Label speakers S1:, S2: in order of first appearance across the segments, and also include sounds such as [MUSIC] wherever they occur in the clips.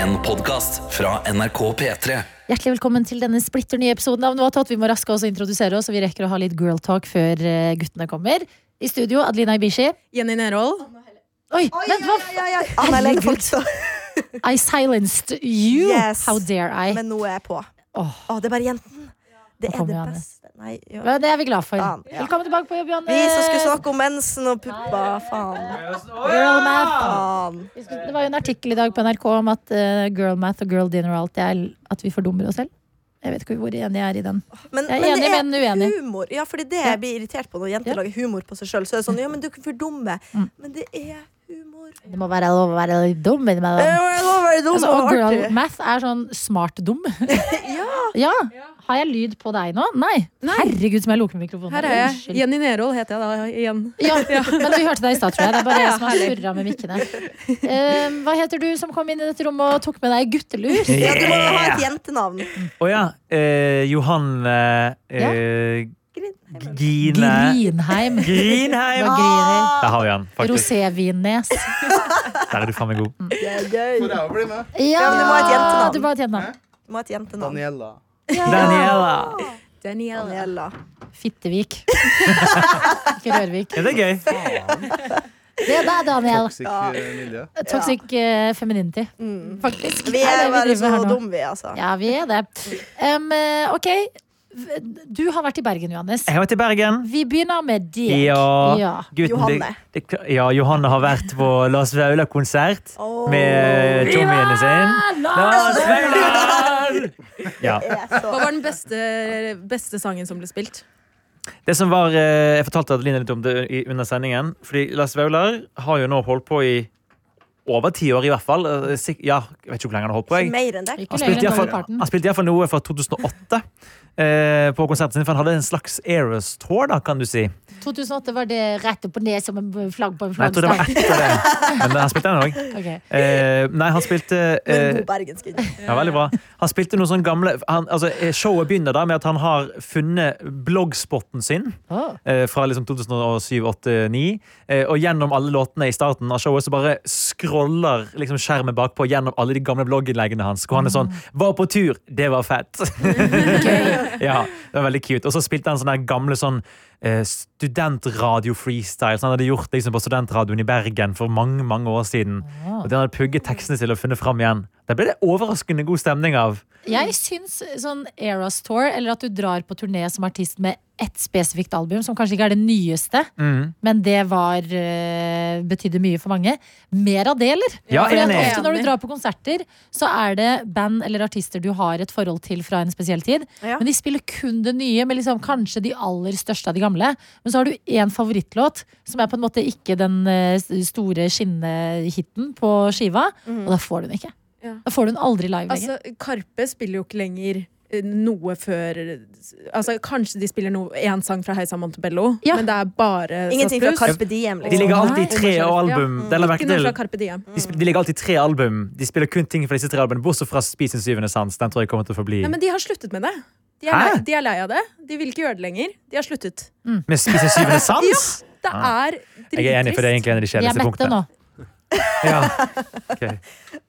S1: En podcast fra NRK P3
S2: Hjertelig velkommen til denne splitter nye episoden av Noatot. Vi må raske oss og introdusere oss, og vi rekker å ha litt girl talk før eh, guttene kommer. I studio, Adelina Ibishi.
S3: Jenny Nerol.
S2: Oi, vent, hva? f-
S4: Anna legger
S2: Herregud.
S4: folk så
S2: I silenced you!
S4: Yes.
S2: How dare I?
S4: Men nå Ah, er jeg på.
S2: Åh,
S4: Å, det er bare jenten. Det
S2: Nå
S4: er
S2: kommer
S4: det
S2: Johannes.
S4: beste. Nei, jo.
S2: hva- det er vi glad for.
S4: Faen, ja.
S2: Velkommen tilbake på jobb, Johanne.
S4: Vi som skulle snakke om mensen og puppa. Faen.
S2: Girl math.
S4: Faen.
S2: Vi skulle- Det var jo en artikkel i dag på NRK om at eh, girl math og girl dinner og alt det er at vi fordummer oss selv. Jeg vet ikke hvor enig jeg er i den.
S4: Men,
S2: Jeg er
S4: men
S2: enig,
S4: det er
S2: men uenig.
S4: humor. Ja, fordi det
S2: Ja.
S4: jeg blir irritert på når jenter
S2: Ja.
S4: lager humor på seg sjøl. Så er det sånn, ja, men du er for dumme.
S2: Mm.
S4: Men det er humor.
S2: Det må være lov å være litt dum innimellom.
S4: Eh, Jeg må være dum
S2: Altså,
S4: og
S2: og girl
S4: artig.
S2: math er sånn smart-dum.
S4: [LAUGHS] Ja.
S2: Ja. Har jeg lyd på deg nå? Nei. Herregud, som jeg lukker mikrofonen.
S3: Her er jeg.
S2: Unnskyld.
S3: Jenny Nerol heter jeg da igjen.
S2: Ja, men vi hørte deg i stad, tror jeg. Det er bare jeg som har surra med mikkene. Ehm, hva heter du som kom inn i dette rommet og tok med deg guttelur?
S4: ja, du må ha et jentenavn.
S5: Å ja. Eh, Johanne eh,
S4: Grindheimer.
S5: Gine
S2: Grinheim.
S5: Grinheim!
S2: Hva griner.
S5: Der har vi han, faktisk.
S2: Rosévinnes.
S5: Der er du faen meg god.
S4: Det er gøy.
S6: Får jeg å bli med?
S4: Ja, men du må ha et jentenavn.
S2: Du må ha et jentenavn.
S4: Du må ha et jentenavn.
S6: Daniela.
S5: Daniela!
S3: Danielle.
S4: Daniela.
S2: Fittevik. Ikke Rørvik.
S5: Er det gøy?
S2: Det er deg, Daniel.
S6: Toxic eh, miljø.
S2: Toxic eh, femininity,
S4: Mm.
S2: faktisk.
S4: Vi
S2: Det
S4: er
S2: det
S4: bare
S2: driver
S4: så
S2: med her nå.
S4: dumme, vi, altså.
S2: Ja, vi er det. Em, eh, ok, V- du har vært i Bergen, Johannes.
S5: Jeg har vært i Bergen.
S2: Vi begynner med deg.
S5: Ja.
S2: ja.
S5: Gutten,
S4: Johanne.
S5: Det, det, ja, Johanne har vært på Lars Vaular-konsert
S4: Åh.
S5: med eh, trommiene sin. Lars Vaular! Ja.
S4: Jeg er så
S3: Hva var den beste, beste sangen som ble spilt?
S5: Det som var, eh, Jeg fortalte Adeline litt om det i- under sendingen. Fordi Lars Vaular har jo nå holdt på i over ti år, i hvert fall. Eh, sik- Ja, jeg vet ikke hvor lenge han har holdt på. Jeg.
S4: Mer enn deg.
S2: Ikke
S5: Han
S2: lenger
S5: spilte, i
S2: enn
S5: hvert fall,
S2: halvparten.
S5: han spilte i hvert fall noe fra 2008 eh, på konserten sin, for han hadde en slags Eros Tour, da, kan du si. Nei,
S2: 2008 var det rett opp og ned som en flagg på en
S5: jeg tror det var
S2: flaggstang.
S5: etter det. Men eh, han spilte den òg.
S2: Ok.
S5: Eh, nei, han spilte
S4: Men
S5: eh,
S4: god bergensk.
S5: ja, veldig bra. Han spilte noen sånne gamle han, altså, eh, Showet begynner da med at han har funnet bloggspotten sin.
S2: Åh.
S5: eh, Fra liksom 2007, 8, 9 eh, Og gjennom alle låtene i starten av showet Så bare scroller liksom skjermen bakpå Gjennom alle de gamle blogginnleggene hans Hvor han er sånn,
S3: Mm.
S5: var på tur, det
S3: [LAUGHS]
S5: var fett [LAUGHS] Ja, det var veldig cute Og så spilte han sånne der gamle sånn eh, Studentradio-freestyle Som han hadde gjort liksom, på studentradioen i Bergen For mange, mange år siden
S3: Ah.
S5: Og det han hadde pugget tekstene til og funnet fram igjen Der ble det overraskende god stemning av
S2: Jeg syns sånn Eras Tour, eller at du drar på turné som artist med ett spesifikt album, som kanskje ikke er det nyeste,
S5: Mhm.
S2: men det var eh, betydde mye for mange. Mer av det, eller?
S5: Ja,
S2: Fordi at
S5: enig.
S2: ofte når du drar på konserter, så er det band eller artister du har et forhold til fra en spesiell tid.
S4: Ja.
S2: Men de spiller kun det nye, med liksom kanskje de aller største av de gamle. Men så har du én favorittlåt, som er på en måte ikke den eh, store skinnehiten på skiva. Og da får du den ikke.
S3: Ja.
S2: Da får du den aldri live lenger.
S3: Altså, Karpe spiller jo ikke lenger eh, noe før Altså, Kanskje de spiller noe, én sang fra Heisa Montebello,
S2: Ja.
S3: men det er bare
S4: Ingenting fra
S3: Soft Blues.
S4: Carpe Diem.
S5: De ligger
S3: sånn
S4: Liksom.
S5: alltid i tre album Det la jeg
S3: Mm.
S5: merke
S3: Ikke noe
S5: til
S3: fra Carpe Diem.
S5: De, spiller, de ligger alltid i tre album. De spiller kun ting fra disse tre albumene, bortsett fra Spis en syvende sans. Den tror jeg kommer til å forbli.
S3: Nei, men de har sluttet med det. De er,
S5: Hæ?
S3: lei, de er lei av det. De vil ikke gjøre det lenger. De har sluttet.
S5: Men Spis en syvende sans?
S3: Det
S5: Ah.
S3: er drittrist.
S5: Jeg er enig, for det er egentlig en av de
S2: Vi er mette
S5: kjedeligste
S2: nå.
S5: punktene. Ja. Okay.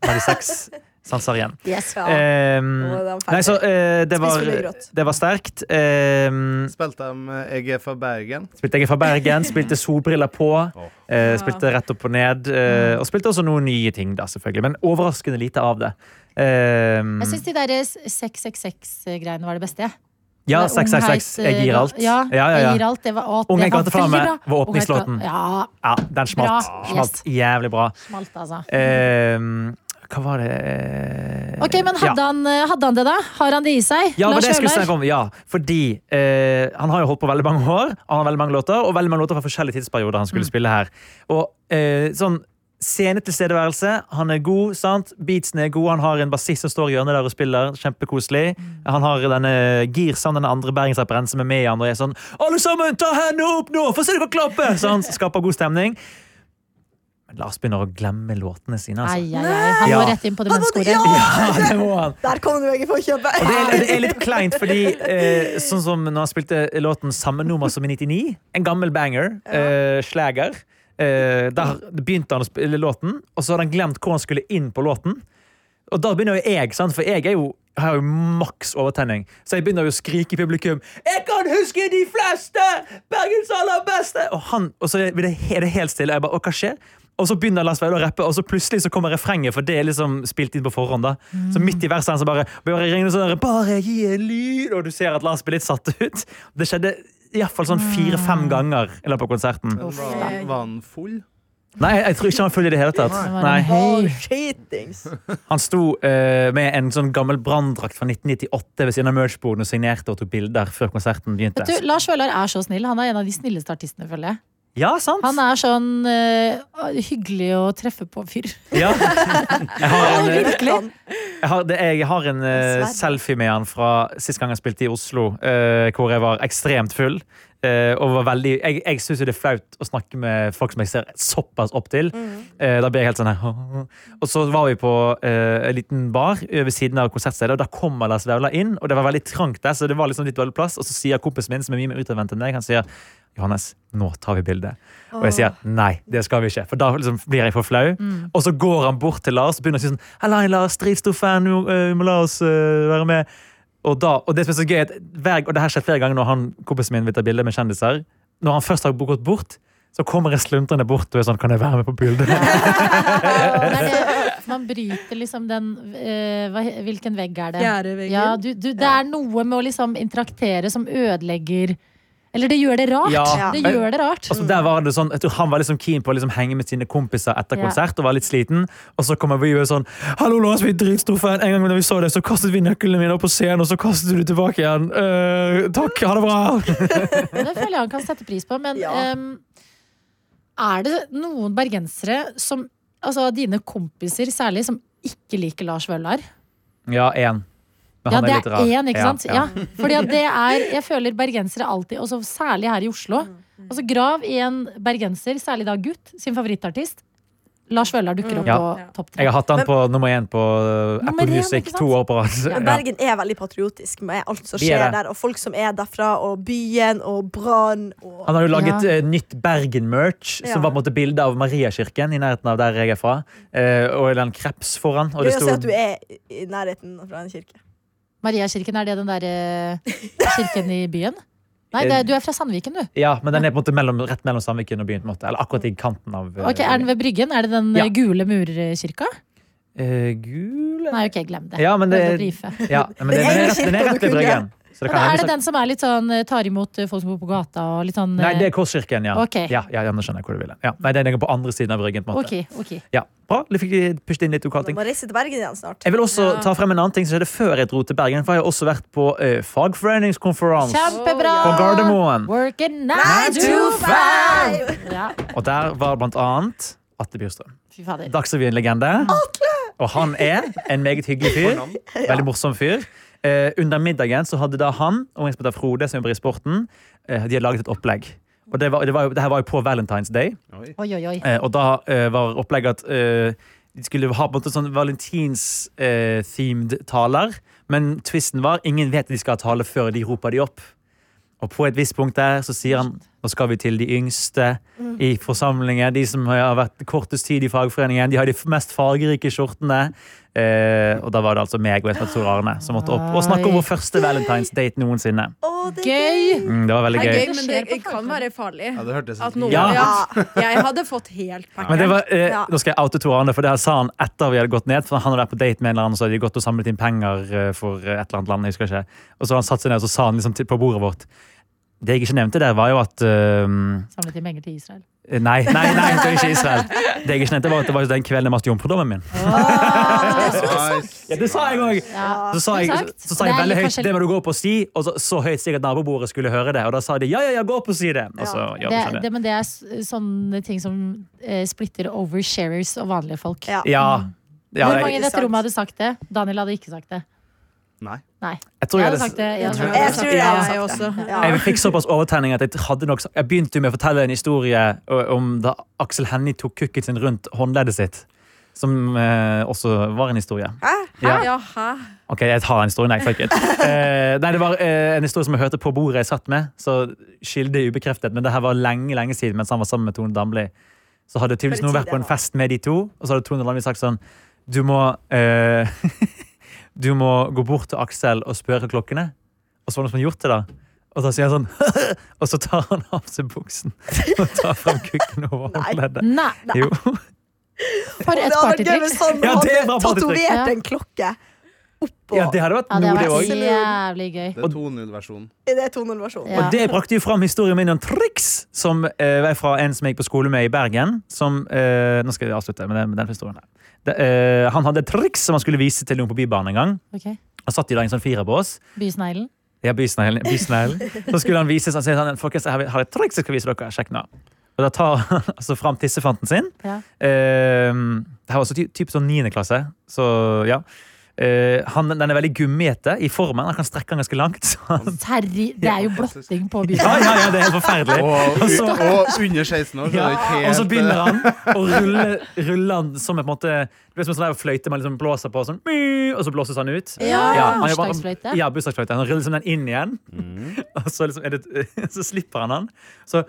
S5: Da har de seks sanser igjen.
S4: Ja. Eh,
S5: Ehm,
S4: Nå er den ferdig.
S5: nei, så eh, det, var,
S4: Spis for mye grått.
S5: det var sterkt. Ehm,
S6: Spilte de eh, Jeg er fra Bergen.
S5: spilte jeg fra Bergen, spilte solbriller på. eh, spilte rett opp og ned. eh, og spilte også noen nye ting, da, selvfølgelig. Men overraskende lite av det. Ehm,
S2: Jeg syns de der eh, 666-greiene var det beste. jeg.
S5: ja,
S2: Det er
S5: 666.
S2: unghet,
S5: Jeg gir alt.
S2: Ja,
S5: Ja, ja, ja.
S2: Jeg gir alt. Det var, å,
S5: Unge
S2: det var
S5: gateflamme
S2: veldig bra.
S5: var
S2: Unge
S5: åpningslåten.
S2: gat- Ja,
S5: Ja, den smalt.
S2: Bra.
S5: smalt Jævlig bra.
S2: smalt, altså.
S5: Eh, Ehm, hva var det eh,
S2: Ok, men hadde,
S5: ja.
S2: han, hadde han det, da? Har han det i seg?
S5: Ja, det var det jeg skulle
S2: Vaular?
S5: snakke om. Ja, fordi eh, Han har jo holdt på veldig mange år, han har veldig mange låter, og veldig mange låter fra forskjellige tidsperioder han skulle spille her. Og eh, sånn Scenetilstedeværelse. Han er god. sant? Beatsen er god. Han har en bassist som står i hjørnet der og spiller. Kjempekoselig. Han har denne Girsan, den andre bergensrapperen som er med i han og er sånn Alle sammen, ta hendene opp nå! Få se dere klappe! Sånn, skaper god stemning. Men Lars begynner å glemme låtene sine,
S2: Ai,
S5: altså.
S2: ai, ai. Han må
S5: Ja.
S2: rett inn på demensbordet.
S5: Ja, det må han.
S4: Der kom du, Egil, for å kjøpe!
S5: Og det
S4: [LAUGHS]
S5: er, det er litt kleint, fordi eh, sånn som når han spilte låten Samme nummer som i 99, en gammel banger, eh, slager, eh, der begynte han å spille låten, og så hadde han glemt hvor han skulle inn på låten. Og da begynner jo jeg, sant? for jeg er jo, har jo maks overtenning. Så jeg begynner jo å skrike i publikum. Jeg kan huske de fleste! Bergens aller beste! Og, han, og så blir det, he- er det helt stille. Jeg bare, og hva skjer? Og så begynner Lars Vaular å rappe, og så plutselig så kommer refrenget. For det er liksom spilt inn på forhånd da Så midt i verset så bare, bare ringer det sånn der, Bare gi en lyd! Og du ser at Lars blir litt satt ut. Det skjedde iallfall sånn fire-fem ganger i løpet av konserten.
S6: Men var han- var han full?
S5: Nei, jeg tror ikke han følger det i det hele tatt.
S2: Det var en
S5: Nei.
S2: hei.
S4: Skitings.
S5: Han sto eh, med en sånn gammel branndrakt fra 1998 ved siden av merch-boden og signerte og tok bilder før konserten begynte.
S2: Vet du, Lars Vaular er så snill. Han er en av de snilleste artistene, føler jeg.
S5: Ja, sant?
S2: Han er sånn eh, hyggelig å treffe på fyr. [LAUGHS]
S5: Ja. Jeg har en, eh,
S4: Sånn.
S2: Virkelig.
S5: jeg har, det, jeg har en eh,
S4: Dessverre.
S5: selfie med han fra sist gang jeg spilte i Oslo, eh, hvor jeg var ekstremt full. eh, og var veldig, jeg jeg syns det er flaut å snakke med folk som jeg ser såpass opp til. Eh, da ble jeg helt sånn her. [LAUGHS] Og så var vi på eh, en liten bar eh, ved siden av konsertstedet, og da kommer Lars Vaular inn. Og det var veldig trangt der, så det var liksom litt dårlig plass. Og så sier kompisen min, som er mye mer utadvendt enn meg, han sier Johannes, nå tar vi bilde. Og jeg sier nei, det skal vi ikke. For da liksom blir jeg for flau.
S2: Mm.
S5: Og så går han bort til Lars og begynner å si sånn Hei, Lars, dritstor fan, vi må, eh, vi må la oss eh, være med. Og, da, og det som er så gøy, er at hver, og det her skjer flere ganger når han, kompisen min vil ta bilde med kjendiser. Når han først har gått bort, så kommer jeg sluntrende bort og er sånn Kan jeg være med på bildet?
S2: Det er det. Man bryter liksom den eh, hva, he- Hvilken vegg er det?
S3: Gjerdevegger.
S2: Ja, du, du, det er noe med å liksom interaktere som ødelegger Eller det gjør det rart.
S5: Ja.
S2: Det gjør det rart.
S5: Altså, der var det sånn, jeg tror Han var liksom keen på å liksom henge med sine kompiser etter
S2: Ja.
S5: konsert og var litt sliten. Og så kommer vi og er sånn Hallo, Lars, vi er dritstor fan. En gang da vi så det, så kastet vi nøklene mine opp på scenen, og så kastet du det tilbake igjen. Eh, takk, ha det bra!
S2: Men Det føler jeg han kan sette pris på. Men
S4: Ja.
S2: ehm, er det noen bergensere som Altså dine kompiser særlig, som ikke liker Lars Vøller?
S5: [LAUGHS] Ja, én. Men
S2: Ja,
S5: han
S2: det
S5: litt
S2: er
S5: rar.
S2: én, ikke
S5: Ja,
S2: sant? Ja, Fordi at det er Jeg føler bergensere alltid, og så særlig her i Oslo. Altså Grav i en bergenser, særlig da gutt, sin favorittartist. Lars Vøller dukker opp
S5: Mm. Ja.
S2: på
S3: Ja.
S2: topp
S5: Jeg
S2: tre.
S5: har hatt han på nummer én på eh,
S2: Nummer
S5: Apple
S2: én,
S5: Music
S2: ikke sant?
S5: to år på rad.
S4: Men
S5: Ja.
S4: Bergen er veldig patriotisk med alt som
S5: Vi er
S4: skjer
S5: det.
S4: der, og folk som er derfra, og byen, og brann, og
S5: Han har jo laget
S2: Ja.
S5: eh, nytt Bergen-merch,
S4: Ja.
S5: som var på en måte bilde av Mariakirken i nærheten av der jeg er fra. Eh, og en kreps foran. Og
S4: Gøy
S5: det
S4: å se
S5: sto
S4: at du er i nærheten fra en kirke.
S2: Mariakirken, er det den derre kirken i byen? Nei, det er, du er fra Sandviken, du.
S5: Ja, men den er på en måte mellom, rett mellom Sandviken og byen. på en måte Eller akkurat i kanten av eh,
S2: Ok, Er den ved Bryggen? Er det den eh,
S5: Ja.
S2: gule murkirka?
S5: eh, Gul
S2: Nei, ok, glem det.
S5: Ja, men
S2: Prøvde å
S5: det-
S2: brife.
S5: Ja, men
S4: Den
S5: det, den, er
S4: ene
S5: rett, den er
S4: kirka
S5: rett
S4: du
S5: ved
S4: kunne.
S5: Bryggen. Så det
S2: Men
S5: kan
S2: er
S5: hende
S2: det
S5: så-
S2: den som er litt sånn eh, tar imot eh, folk som bor på gata og litt sånn eh,
S5: Nei, det er Korskirken, ja.
S2: Ok.
S5: Ja, ja, ja, nå skjønner jeg hvor du vil. Ja. Nei, den er på andre siden av Bryggen. på en måte
S2: Ok, ok.
S5: Ja, Bra. Du fikk eh, pushet inn litt lokale
S4: Du
S5: ting.
S4: må reise til Bergen igjen snart.
S5: Jeg vil også ta frem en annen ting som skjedde før jeg dro til Bergen. For jeg har også vært på eh, fagforeningskonferanse
S2: Kjempebra!
S5: på Gardermoen.
S2: Working nine to five! Ja,
S5: Og der var blant annet Atle Bjurstrøm.
S2: fy fader.
S5: Dagsrevyen-legende. Og han er en meget hyggelig fyr. Veldig morsom fyr. Eh, under middagen så hadde da han og en som heter Frode, som jobber i sporten, eh, de hadde laget et opplegg. Og det, var, det, var, jo- det her var jo på Valentine's Day.
S6: Oi.
S2: Oi, oi, oi.
S5: Eh, og da eh, var opplegget at eh, de skulle ha på en måte sånn valentins-themed taler. Men twisten var ingen vet de skal ha tale før de roper de opp. Og på et visst punkt der så sier han nå skal vi til de yngste i forsamlingen. De som har vært kortest tid i fagforeningen. De har de f- mest fargerike skjortene. Eh, og da var det altså meg og jeg som het Tor Arne som måtte opp og snakke om vår første valentinsdate noensinne.
S4: Å, det er
S2: Gøy!
S5: Mm, det var veldig
S3: Det er
S5: gøy.
S3: gøy, men det, det kan være farlig.
S6: Ja, det hørtes
S3: At noen,
S5: Ja.
S3: ja. Jeg hadde fått helt
S5: Men det
S3: pakken.
S5: var, eh,
S4: Ja.
S5: Nå skal jeg oute Tor Arne, for det her sa han etter vi hadde gått ned. For han hadde vært på date med en eller annen, så hadde de gått og samlet inn penger eh, for eh, et eller annet land. jeg husker ikke. Og så hadde han satt seg ned og så sa han liksom til, på bordet vårt Det jeg ikke nevnte der, var jo at eh,
S2: Samlet inn penger til Israel.
S5: Nei, nei, nei, det var ikke Israel. Det jeg ikke nevnte, var at det var den kvelden jeg var jomfrudommen min.
S6: Nice.
S5: Ja, det sa jeg òg!
S2: Ja.
S5: Så sa jeg,
S2: Exakt.
S5: så sa
S2: Det
S5: jeg
S2: er
S5: veldig
S2: litt
S5: høyt
S2: forskjellig.
S5: det må du gå opp og si, og så, så høyt sikkert nabobordet skulle høre det. Og da sa de ja, ja, ja, gå opp og si det. Og så
S2: Det,
S5: gjør vi sånn
S2: det,
S5: det.
S2: men det er s- sånne ting som eh, splitter oversharers og vanlige folk.
S4: Ja.
S5: Ja, ja
S2: Hvor mange
S5: jeg,
S2: i dette rommet hadde sagt det? Daniel hadde ikke sagt det.
S6: Nei.
S2: Nei.
S5: jeg tror
S2: Jeg
S5: jeg
S2: hadde
S5: hadde
S2: sagt det. Jeg
S6: tror
S2: hadde
S4: Jeg
S2: sagt
S4: tror
S2: det.
S4: jeg
S3: Ja,
S4: har
S3: jeg
S4: sagt
S3: også.
S4: det.
S5: Jeg
S4: Ja.
S5: fikk såpass overtenning at jeg, hadde nok, jeg begynte med å fortelle en historie om da Aksel Hennie tok kukken sin rundt håndleddet sitt. Som eh, også var en historie. Ja.
S3: Ja, hæ?
S5: Ok, jeg tar en historie. Nei, fuck
S2: [LAUGHS]
S5: it. Eh, nei, det var eh, en historie som jeg hørte på bordet jeg satt med. Så skildet er ubekreftet, men det her var lenge lenge siden mens han var sammen med Tone Damli. Så hadde tydeligvis
S4: For en
S5: noen
S4: tid,
S5: vært på en
S4: det var.
S5: fest med de to, og så hadde Tone Damli sagt sånn Du må eh, [LAUGHS] Du må gå bort til Aksel og spørre klokkene. Og så var det noen som hadde gjort det, da. Og så sier han sånn [LAUGHS] Og så tar han av seg buksen og tar fram kukken over
S4: Nei.
S5: håndleddet.
S2: Nei,
S5: Jo.
S2: for et
S4: Det hadde vært gøy hvis
S2: partytriks.
S4: han
S5: Ja, det
S4: hadde
S5: var partytriks.
S2: Ja.
S4: tatovert en klokke oppå.
S5: Ja, det hadde vært
S2: Ja, det
S5: noe, det
S2: hadde
S5: òg.
S2: vært
S4: også.
S2: jævlig gøy.
S6: Det er
S5: [LAUGHS]
S6: 2.0-versjonen.
S4: Det er 2.0-versjonen.
S2: Ja.
S5: Og det brakte jo fram historien min om triks, som eh, er fra en som jeg gikk på skole med i Bergen. Som, eh, nå skal jeg avslutte med den, med den historien. her. Det, eh, han hadde et triks som han skulle vise til noen på Bybanen en gang.
S2: Ok.
S5: Han satt i dag en sånn firer på oss.
S2: Bysneglen.
S5: Ja, bysneglen. bysneglen. Så skulle han vise sånn, så sier han, folkens, jeg har et triks jeg skal vise dere. Sjekk nå. Og da tar han [LAUGHS] altså fram tissefanten sin.
S2: Ja.
S5: Eh, det her var også ty typ sånn 9. klasse. Så ja. Eh, han, den er veldig gummiete i formen. Han kan strekke den ganske langt. Så
S2: [LAUGHS]
S5: han,
S2: Terri, det er jo blotting på
S5: ja,
S2: bysneglen.
S5: ja, ja, det er helt forferdelig.
S6: Og,
S5: så-
S6: og under 16 år, så
S5: Altså- Ja,
S6: er det ikke helt eh.
S5: og så begynner han å rulle, rulle han som en, på en måte, du vet, som en sånn der fløyte man liksom blåser på, sånn, «Mu», og så blåses han ut.
S2: Ja,
S5: han gjør bare-
S2: bursdagsfløyte.
S5: Ja, bursdagsfløyte. Han ruller liksom den inn igjen, og så, liksom er det, [LAUGHS] så slipper han han. Så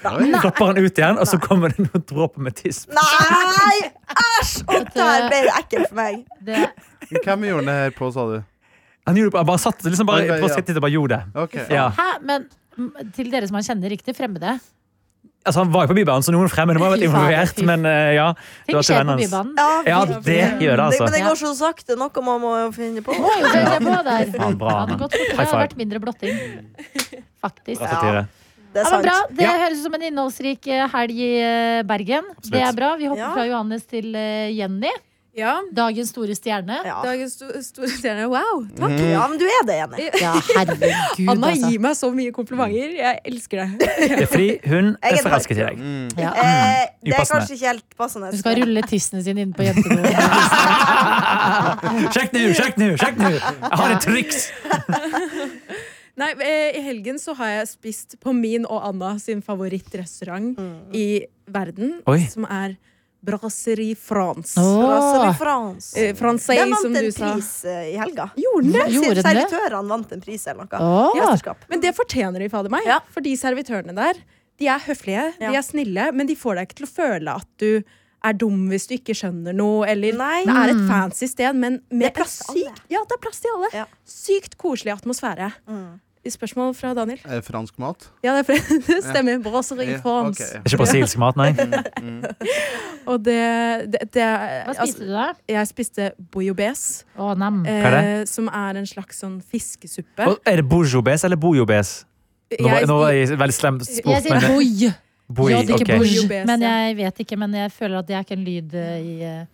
S6: Oi.
S5: dropper han ut igjen, og så kommer det noen dråper med tiss.
S4: Nei! Æsj! Og der ble det ekkelt for meg.
S2: Det,
S6: Hvem gjorde det her på, sa du?
S5: Han gjorde det bare, bare satt liksom bare,
S6: Ja, ja,
S5: på
S6: ja.
S5: skrittet og bare gjorde det.
S6: Ok,
S5: Ja.
S2: hæ, men m- til dere som han kjenner riktig, fremmede.
S5: Altså, han var jo på Bybanen, så noen fremmede var
S2: Fy
S5: vel
S2: faen,
S5: involvert,
S2: fy-
S5: men eh, ja. Det
S2: Ting
S5: var til
S2: skjer på
S5: vennene hans.
S2: bybanen.
S5: Ja,
S4: vi-
S5: det gjør det, altså.
S4: Men det
S2: Ja.
S4: går så sakte. Noe man må jo finne på.
S2: Må jo følge på der.
S5: Faen, bra,
S2: Det hadde
S5: men.
S2: gått fortere, det
S5: High
S2: hadde
S5: five.
S2: vært mindre blotting. Faktisk.
S5: Bra satire.
S4: Det er
S2: Ja, men
S4: sant.
S2: bra. Det
S5: Ja.
S2: høres ut som en innholdsrik eh, helg i eh, Bergen.
S5: Absolutt.
S2: Det er bra. Vi hopper
S4: Ja.
S2: fra Johannes til eh, Jenny.
S3: Ja.
S2: Dagens store stjerne.
S4: Ja.
S3: Dagens sto- store stjerne. Wow! Takk.
S5: Mhm.
S4: ja, men du er det, Jenny.
S2: Ja, herregud,
S3: Anna
S2: altså.
S3: gir meg så mye komplimenter. Jeg elsker det.
S5: Det er fordi hun
S4: Jeg
S5: er
S4: er
S5: forelsket i deg.
S6: Mm.
S2: Ja.
S4: Eh, det er
S5: Upassende.
S4: kanskje ikke helt passende.
S2: Hun skal rulle tissen sin inn på jentedoen.
S5: [LAUGHS] Sjekk nå, sjekk nå, sjekk nå! Jeg har et triks!
S3: [LAUGHS] Nei, eh, I helgen så har jeg spist på min og Anna sin favorittrestaurant i verden,
S5: Oi.
S3: som er Brasserie France.
S2: Åh.
S4: Brasserie France.
S3: Eh, Francais,
S4: Den
S3: som
S4: vant
S3: du
S4: en
S3: sa.
S4: pris eh, i helga.
S3: Gjorde den det?
S2: Gjorde den det?
S4: Servitørene vant en pris eller noe.
S2: Åh.
S4: Mesterskap.
S3: Men det fortjener de, fader meg. For de servitørene der, de er høflige,
S4: Ja.
S3: de er snille, men de får deg ikke til å føle at du er dum hvis du ikke skjønner noe, eller
S4: Nei.
S3: Det er et fancy sted, men med
S4: Det er plass
S3: en
S4: til alle.
S3: syk- Ja, det er plass til alle.
S4: Ja. Mm.
S3: Sykt koselig atmosfære. Spørsmål fra Daniel?
S6: Er det Eh, fransk mat?
S3: Ja, det er for- [LAUGHS] det stemmer. Brasserie
S6: Ja,
S3: France.
S6: ok.
S5: Ikke brasilsk mat, nei.
S3: Og det, det, det
S2: Hva
S3: altså,
S2: spiste du da?
S3: Jeg spiste bouillabaisse,
S2: Å, nam.
S5: Hva er
S3: eh, som er en slags sånn fiskesuppe.
S5: Og Er det bourgeois eller bouillabaisse? Nå, var-
S3: Jeg-
S5: nå var jeg veldig slem
S2: Jeg
S5: sport,
S2: sier
S5: men
S2: boi.
S5: boi,
S2: jeg
S5: ok.
S2: drikker
S3: Bouillabaisse,
S2: boi,
S3: ja.
S2: men jeg vet ikke. Men jeg føler at det er ikke en lyd eh, i eh,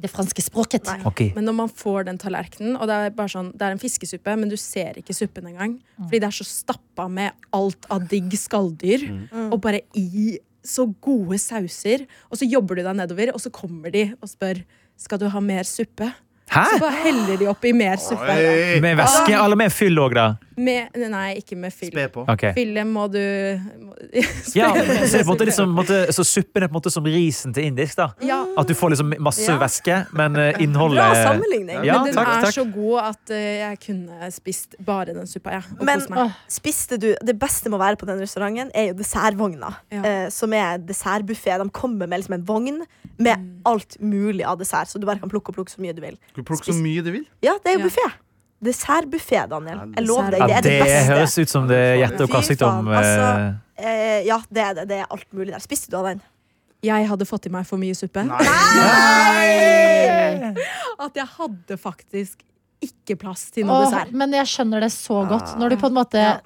S2: det franske språket.
S4: Nei.
S5: Ok.
S3: Men når man får den tallerkenen, og det er, bare sånn, det er en fiskesuppe, men du ser ikke suppen engang,
S5: Mm.
S3: fordi det er så stappa med alt av digg skalldyr,
S5: Mm.
S3: og bare i så gode sauser, og så jobber du deg nedover, og så kommer de og spør skal du ha mer suppe. Så
S5: Hæ?
S3: bare heller de oppi mer suppe.
S6: Oi.
S5: Med væske eller med fyll òg, da?
S3: Med, nei, ikke med fyll.
S6: Spe på.
S5: Ok.
S3: Fylle må du må, [LAUGHS]
S5: Ja, så, det er på en måte liksom, på en måte, så suppen er på en måte som risen til indisk, da.
S3: Ja,
S5: At du får liksom masse
S4: Ja.
S5: væske, men eh,
S4: Bra
S5: innholdet
S4: sammenligning.
S5: Ja,
S3: men den
S5: takk,
S3: er
S5: takk.
S3: så god at eh, jeg kunne spist bare den suppa, jeg. Og
S4: Men
S3: kost meg.
S4: spiste du Det beste med å være på den restauranten, er jo dessertvogna.
S3: Ja.
S4: Eh, som er dessertbuffé. De kommer med liksom en vogn med
S3: Mm.
S4: alt mulig av dessert, så du bare kan plukke og plukke så mye du vil.
S6: Du plukker så mye du vil.
S4: Ja, det
S3: Ja.
S4: er jo buffé. Dessertbuffé, Daniel. Jeg lover deg,
S5: ja,
S4: det er det
S5: Det høres
S4: beste.
S5: ut som det er gjette og
S4: Fy
S5: kastet om.
S4: faen,
S5: eh,
S4: altså. Eh, ja, det er det. Det er alt mulig der. Spiste du av den?
S3: Jeg hadde fått i meg for mye suppe.
S4: Nei!
S3: At jeg hadde faktisk ikke plass til noe
S2: Åh,
S3: dessert.
S2: men jeg skjønner det så godt. Når du på en måte
S4: Ja.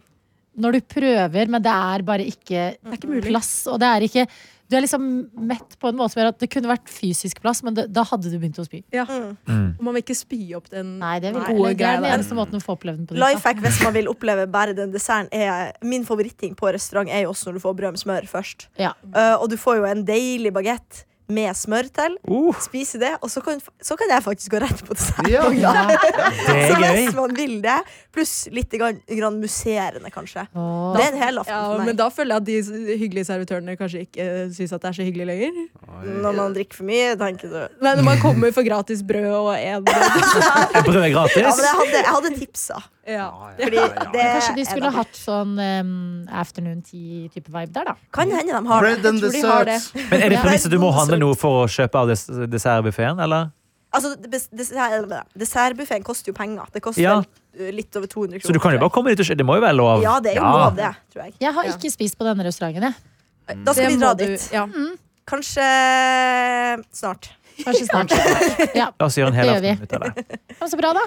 S2: Når du prøver, men det er bare ikke,
S3: ikke mulig.
S2: plass. Og det er ikke Du er liksom mett på en måte som gjør at det kunne vært fysisk plass, men det, da hadde du begynt å spy.
S3: Ja.
S5: Mm.
S3: Og man vil ikke spy opp den
S2: Nei, det er, vel,
S3: gode
S2: eller, det
S3: greia
S2: er den
S3: der.
S2: eneste måten å få opplevd den på.
S4: Life hack hvis man vil oppleve bare den desserten, er Min favoritting på restaurant er jo også når du får brød med smør først.
S2: Ja.
S3: Mm.
S4: Eh, og du får jo en deilig bagett med smør til.
S5: Uh,
S4: Spise det, og så kan, så kan jeg faktisk gå rett på dessert.
S6: Ja.
S4: [LAUGHS]
S5: det
S4: Så
S5: er gøy.
S4: hvis man vil det, sånn pluss litt grann, grann musserende, kanskje.
S2: Åh.
S4: Det er en helaften
S3: Ja,
S4: for
S3: men
S4: meg.
S3: da føler jeg at de s- hyggelige servitørene kanskje ikke uh, syns at det er så hyggelig lenger.
S4: Når man drikker for mye, tenker du ja, [LAUGHS]
S3: Nei, Når man kommer for gratis brød og en
S5: Er brød
S4: men
S5: gratis?
S4: jeg, hadde, jeg hadde tipsa. Fordi det
S2: Kanskje de
S4: er
S2: skulle hatt
S4: vakkert.
S2: sånn em, afternoon tea-type vibe der, da.
S4: Kan hende de har det.
S6: Bread
S4: Jeg
S6: and
S4: tror de har det.
S6: desserts.
S5: Men er det
S4: Ja.
S5: premisset du må handle noe for å kjøpe av des dessertbuffeen, eller?
S4: Altså, des- dessert- Dessertbuffeen koster jo penger. Det koster
S5: Ja.
S4: vel, uh, litt over 200 kroner.
S5: Så du kan jo bare komme dit og kjøpe. Det må jo være lov?
S4: Ja, det er jo
S5: Ja.
S4: lov, det. tror jeg
S2: Jeg har
S3: Ja.
S2: ikke spist på denne restauranten, jeg.
S4: Da skal
S3: Det
S4: vi dra
S3: må du-
S4: dit. Mm.
S3: Ja.
S4: Kanskje snart.
S2: Kanskje snart. [LAUGHS] Ja,
S5: La oss gjøre en hel
S2: Det gjør vi.
S5: aften ut av det.
S2: men Så bra, da.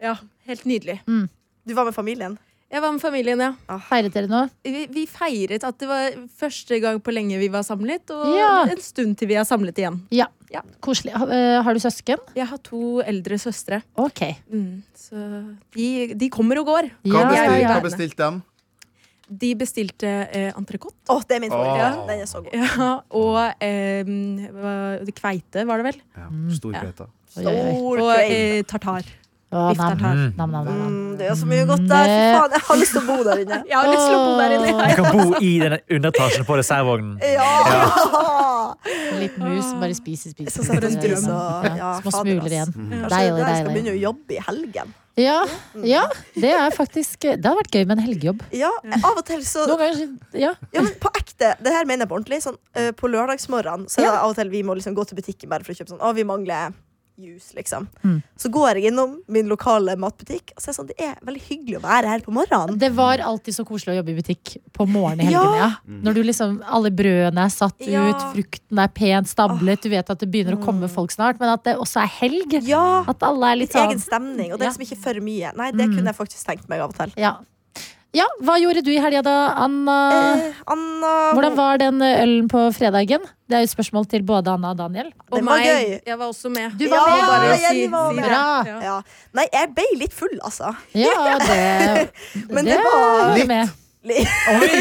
S3: ja. Helt nydelig.
S4: Mm. Du var med familien.
S3: Jeg var med familien, ja.
S2: Feiret dere nå?
S3: Vi, vi feiret at det var første gang på lenge vi var samlet, og
S2: Ja.
S3: en stund til vi er samlet igjen.
S2: Ja.
S3: Ja.
S2: Koselig. Ha- eh, Har du søsken?
S3: Jeg har to eldre søstre,
S2: Ok.
S3: mm, så de, de kommer og går.
S6: Hva
S2: Ja,
S6: bestilte
S2: ja, ja.
S6: hva bestilte dem?
S3: De bestilte eh, entrecôte.
S4: Å, det er min favoritt.
S6: Åh.
S4: Den er så god.
S3: Ja, og eh, hva- kveite, var det vel?
S6: Ja, stor kveite.
S2: Oi, oi, oi.
S4: Stor
S3: Og
S4: crave.
S3: eh, tartar.
S2: Å, nam,
S3: Biff tartar.
S5: Mm.
S2: nam, nam, nam.
S4: Mm, det er så mye godt der. Fy faen, jeg har lyst til å bo der inne.
S3: Jeg har lyst til å bo der inne.
S5: [LAUGHS]
S2: [LAUGHS]
S5: Jeg kan bo i den underetasjen på dessertvognen.
S4: Ja!
S2: En liten mus som bare spiser, spiser.
S4: Så setter
S2: spiser,
S4: en
S2: spiser.
S4: drøm, og-
S2: ja,
S4: ja,
S2: små
S4: fader,
S2: smuler
S4: ass.
S2: igjen.
S4: Kanskje
S2: Deilig,
S4: der jeg skal
S2: deilig.
S4: begynne å jobbe i helgen.
S2: Ja,
S4: Mm.
S2: ja, det er faktisk Det hadde vært gøy med en helgejobb.
S4: Ja, av og til så
S2: Noen ganger, ja.
S4: Ja, men på ekte, det her mener jeg på ordentlig. Sånn, eh, på lørdagsmorgen så er det av og til vi må liksom gå til butikken bare for å kjøpe sånn Å, vi mangler juice, liksom.
S2: Mm.
S4: Så går jeg innom min lokale matbutikk, og så er det sånn Det er veldig hyggelig å være her på morgenen.
S2: Det var alltid så koselig å jobbe i butikk på morgenen i helgene. Ja. Når du liksom, alle brødene er satt
S4: Ja.
S2: ut, frukten er pent stablet, du vet at det begynner å komme folk snart, men at det også er helg.
S4: Ja!
S2: At alle er litt
S4: Litt
S2: sånn
S4: egen stemning, og det
S2: Ja.
S4: er liksom ikke for mye. Nei, det kunne jeg faktisk tenkt meg av og til.
S2: ja. ja, hva gjorde du i helga da, Anna?
S4: Eh, Anna
S2: Hvordan var den eh, ølen på fredagen? Det er jo et spørmål til både Anna og Daniel.
S4: Den var gøy.
S3: Jeg var også med.
S2: Du var med,
S3: bare å
S4: jeg var med.
S2: Bra!
S3: Ja.
S4: Ja. Nei, jeg ble litt full, altså. [LAUGHS]
S2: Ja, det,
S4: Men det
S2: [LAUGHS]
S4: var
S2: det med.
S5: Oi!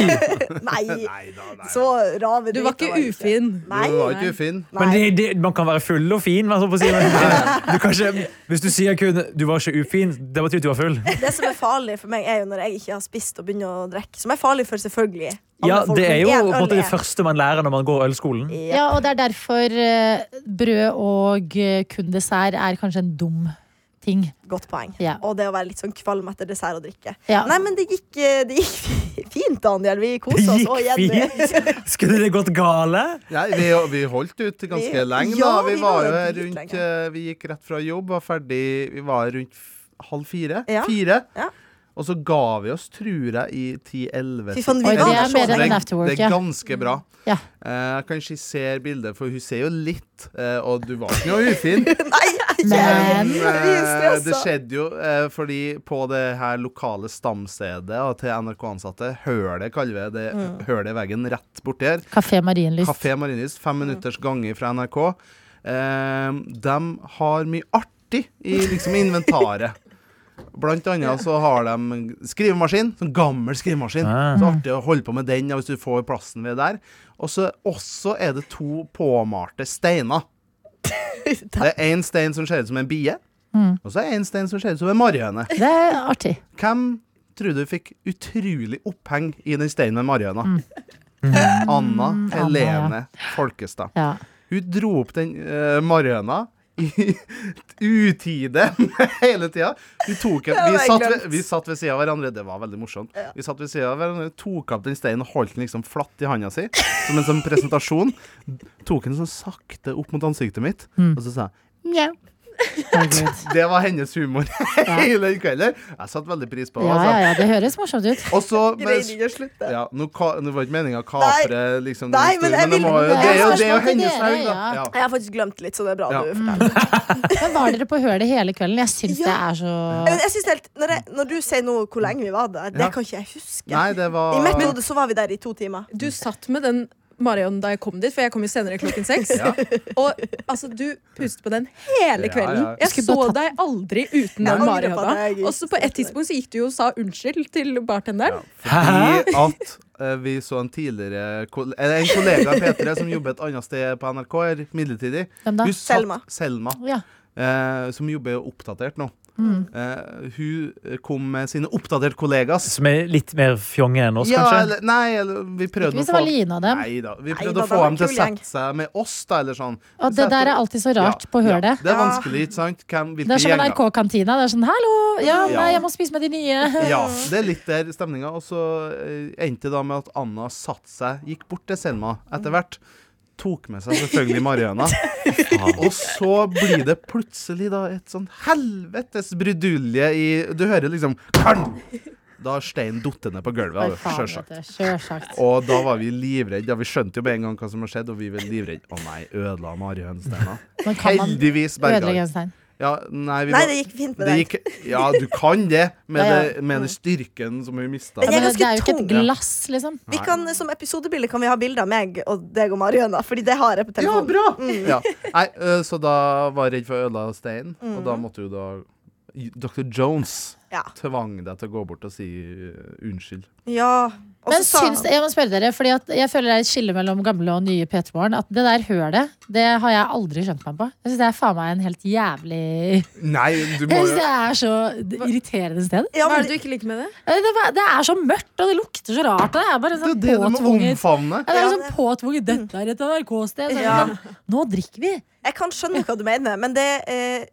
S4: Nei,
S6: Nei da, nei.
S4: så raven
S3: Du var ikke ufin.
S4: Nei.
S6: Du var ikke ufin.
S5: Men
S4: Nei.
S5: det, det, man kan være full og fin. Men så på å si,
S4: [LAUGHS]
S5: du kan ikke, hvis du sier kun 'du var ikke ufin', det betyr at du var full.
S4: Det som er farlig for meg, er jo når jeg ikke har spist og begynner å drikke. Som er farlig for selvfølgelig alle
S5: Ja,
S4: folk,
S5: Det er
S4: men
S5: jo
S4: en
S5: på en
S4: øl
S5: måte det
S4: er-
S5: første man lærer når man går ølskolen.
S4: Ja.
S2: Ja, og det er derfor eh, brød og eh, kun dessert er kanskje en dum ting.
S4: Godt poeng.
S2: Ja.
S4: Og det å være litt sånn kvalm etter dessert og drikke.
S2: Ja.
S4: Nei, men det gikk, eh, det gikk fi- fint, Daniel. Vi
S5: Det
S4: kosa oss. Og
S5: gikk
S4: Jenny. [LAUGHS]
S5: fint! Skulle det gått gale?
S6: Nei, vi, vi holdt ut ganske
S4: Vi-
S6: lenge.
S4: ja,
S6: da. Vi,
S4: vi
S6: var
S4: var
S6: jo
S4: der
S6: rundt
S4: dritlenge.
S6: eh, Vi gikk rett fra jobb, var ferdig Vi var rundt f- halv fire.
S4: Ja.
S6: Fire.
S4: Ja.
S6: Og så ga vi oss, tror jeg, i
S4: Fy
S6: 10-11.
S4: faen, vi
S2: Oi, det
S4: var
S2: er
S4: der så
S2: mer enn
S4: lenge.
S2: en afterwork,
S6: Det
S2: ja.
S6: er ganske bra.
S2: Ja.
S6: Eh, Jeg kan skissere bildet, for hun ser jo litt, eh, og du var ikke noe ufin.
S4: [LAUGHS]
S2: Men
S6: eh,
S4: stressa.
S6: det skjedde jo eh, fordi på det her lokale stamstedet og til NRK-ansatte, hølet kaller vi det,
S4: Mm.
S6: hølet i veggen rett borti her,
S2: Kafé Marienlyst.
S6: Kafé Marienlyst, fem minutters gange fra NRK, eh, de har mye artig i liksom inventaret. Blant annet så har de skrivemaskin, sånn gammel skrivemaskin.
S5: Ah.
S6: Så artig å holde på med den ja, hvis du får plassen ved der. Og så også er det to påmalte steiner. Det er én stein som ser ut som en bie, og så er én stein som ser ut som en marihøne.
S2: Det er artig.
S6: Hvem tror du fikk utrolig oppheng i den steinen med marihøna? Anna Helene Folkestad.
S2: Ja.
S6: Hun dro opp den uh, marihøna i [LAUGHS] utide [LAUGHS] hele tida. Vi, tok en, vi, satt ved, vi satt ved siden av hverandre. Det var veldig morsomt. Vi satt ved siden av hverandre, tok opp den steinen og holdt den liksom flatt i handa si, som en sånn presentasjon. Tok den sånn sakte opp mot ansiktet mitt, og så sa jeg
S2: Mjau. Herregud.
S6: Det var hennes humor [LAUGHS] hele kvelden. Jeg satte veldig pris på det.
S2: Ja, ja,
S6: Altså.
S2: ja, det høres morsomt ut.
S6: Og
S4: [LAUGHS]
S6: så
S4: Greier ikke å slutte.
S6: ja, nå, ka, nå var ikke meninga å kapre liksom, den
S4: Nei, men
S6: historien,
S4: jeg
S6: det, må,
S4: vil-
S6: jo- det, er jo, det er jo
S2: Spørsmål til
S6: hennes
S2: dere,
S6: haug, da.
S2: ja.
S6: Ja.
S4: Jeg har faktisk glemt litt, så det er bra
S6: Ja.
S4: du
S2: Mm.
S4: forteller.
S2: Men var dere på hølet hele kvelden? Jeg syns
S4: Ja.
S2: det er så
S4: Jeg, jeg synes helt, når, jeg, når du sier nå hvor lenge vi var der, det
S6: Ja.
S4: kan ikke jeg huske.
S6: Nei, det var
S4: I mitt hode så var vi der i to timer.
S3: Du satt med den Marion da jeg kom dit, for jeg kom jo senere klokken seks.
S6: [LAUGHS] Ja.
S3: Og altså, du pustet på den hele
S6: Ja,
S3: kvelden.
S6: ja.
S3: Jeg
S2: Skulle bare
S3: så
S2: tatt-
S3: deg aldri uten
S4: Jeg
S3: den
S4: angrer på at jeg
S3: marihøna.
S4: ikke
S3: Og så på et tidspunkt så gikk du jo og sa unnskyld til bartenderen.
S6: fordi at eh, vi så en tidligere kol- eh, En kollega av P3 som jobber et annet sted på NRK her, midlertidig.
S2: Hvem da?
S6: Hun satt-
S4: Selma.
S6: Selma
S2: Ja.
S6: eh, som jobber jo oppdatert nå.
S2: Mm.
S6: Eh, hun kom med sine oppdaterte kollegas.
S5: Som er litt mer fjonge enn oss,
S6: Ja,
S5: kanskje?
S6: eller, nei, eller vi prøvde
S2: Ikke hvis
S6: å
S2: det var
S6: få
S2: Line og dem.
S6: Nei da. Vi
S4: Nei
S6: prøvde
S4: da,
S6: å få
S4: det var
S6: dem til å
S4: kul gjeng.
S6: sette seg med oss, da, eller sånn.
S2: Og det der er alltid så rart på hølet.
S6: Ja, det er
S4: Ja.
S6: vanskelig, ikke sant? Hvem,
S2: Det
S6: hvilke
S2: er som
S6: gjenger?
S2: NRK-kantina. Det er sånn 'hallo, Ja,
S6: Ja.
S2: nei, jeg må spise med de nye.
S6: Ja, det er litt der stemninga. Og så eh, endte det da med at Anna satte seg, gikk bort til Selma etter hvert. Tok med seg
S2: [LAUGHS]
S6: selvfølgelig Mariana. Og så blir det plutselig da et sånn helvetes brudulje i Du hører liksom Kang! Da har steinen falt ned på
S2: Nei,
S6: gulvet,
S2: faen,
S6: sjølsagt.
S2: vet du, Sjølsagt.
S6: Og da var vi livredde. Ja, vi skjønte jo med en gang hva som har skjedd, og vi var livredde. Å nei, ødela Marihønsteina?
S2: Men kan man
S6: Heldigvis berga
S2: ødelegge en stein?
S6: ja, nei, vi
S4: Nei,
S6: var-
S4: det gikk fint med
S6: det
S4: deg.
S6: gikk, Ja, du kan det, med,
S2: [LAUGHS] Ja, ja.
S6: Det, med den styrken som hun mista.
S4: Den
S2: Ja,
S4: er
S2: men det
S4: ganske
S2: er jo ikke et
S4: tung,
S2: glass, liksom.
S4: Vi kan, som episodebilde kan vi ha bilde av meg og deg og Mariana, Fordi det har jeg på
S6: Ja,
S4: telefonen.
S6: bra!
S2: Mm.
S6: [LAUGHS] Ja. Nei, ø, så da var jeg redd for å ødelegge steinen, og
S2: Mm.
S6: da måtte jo da Dr. Jones
S4: Ja.
S6: tvang deg til å gå bort og si ø, unnskyld.
S4: Ja. Og
S2: Men
S4: så sa
S2: syns, jeg må spørre dere, fordi at jeg føler det er et skille mellom gamle og nye P3 Morgen. At det der hølet, det har jeg aldri skjønt meg på. Jeg syns det er faen meg en helt jævlig Jeg
S6: Nei,
S2: [LAUGHS]
S6: du må
S2: synes
S6: jo
S2: det er så irriterende sted.
S4: ja,
S3: Hva er
S4: men,
S3: det du ikke liker med det?
S2: Ja, Det, var- det er så mørkt, og det lukter så rart. Og det er bare en
S6: Det er
S2: sånn
S6: det du må
S2: påtvunget
S6: omfavne.
S2: ja, det er
S4: Ja,
S2: sånn påtvunget Dette er et NRK-sted. Så er det
S4: Ja.
S2: sånn, Nå drikker vi.
S4: Jeg kan skjønne hva du mener, men det eh,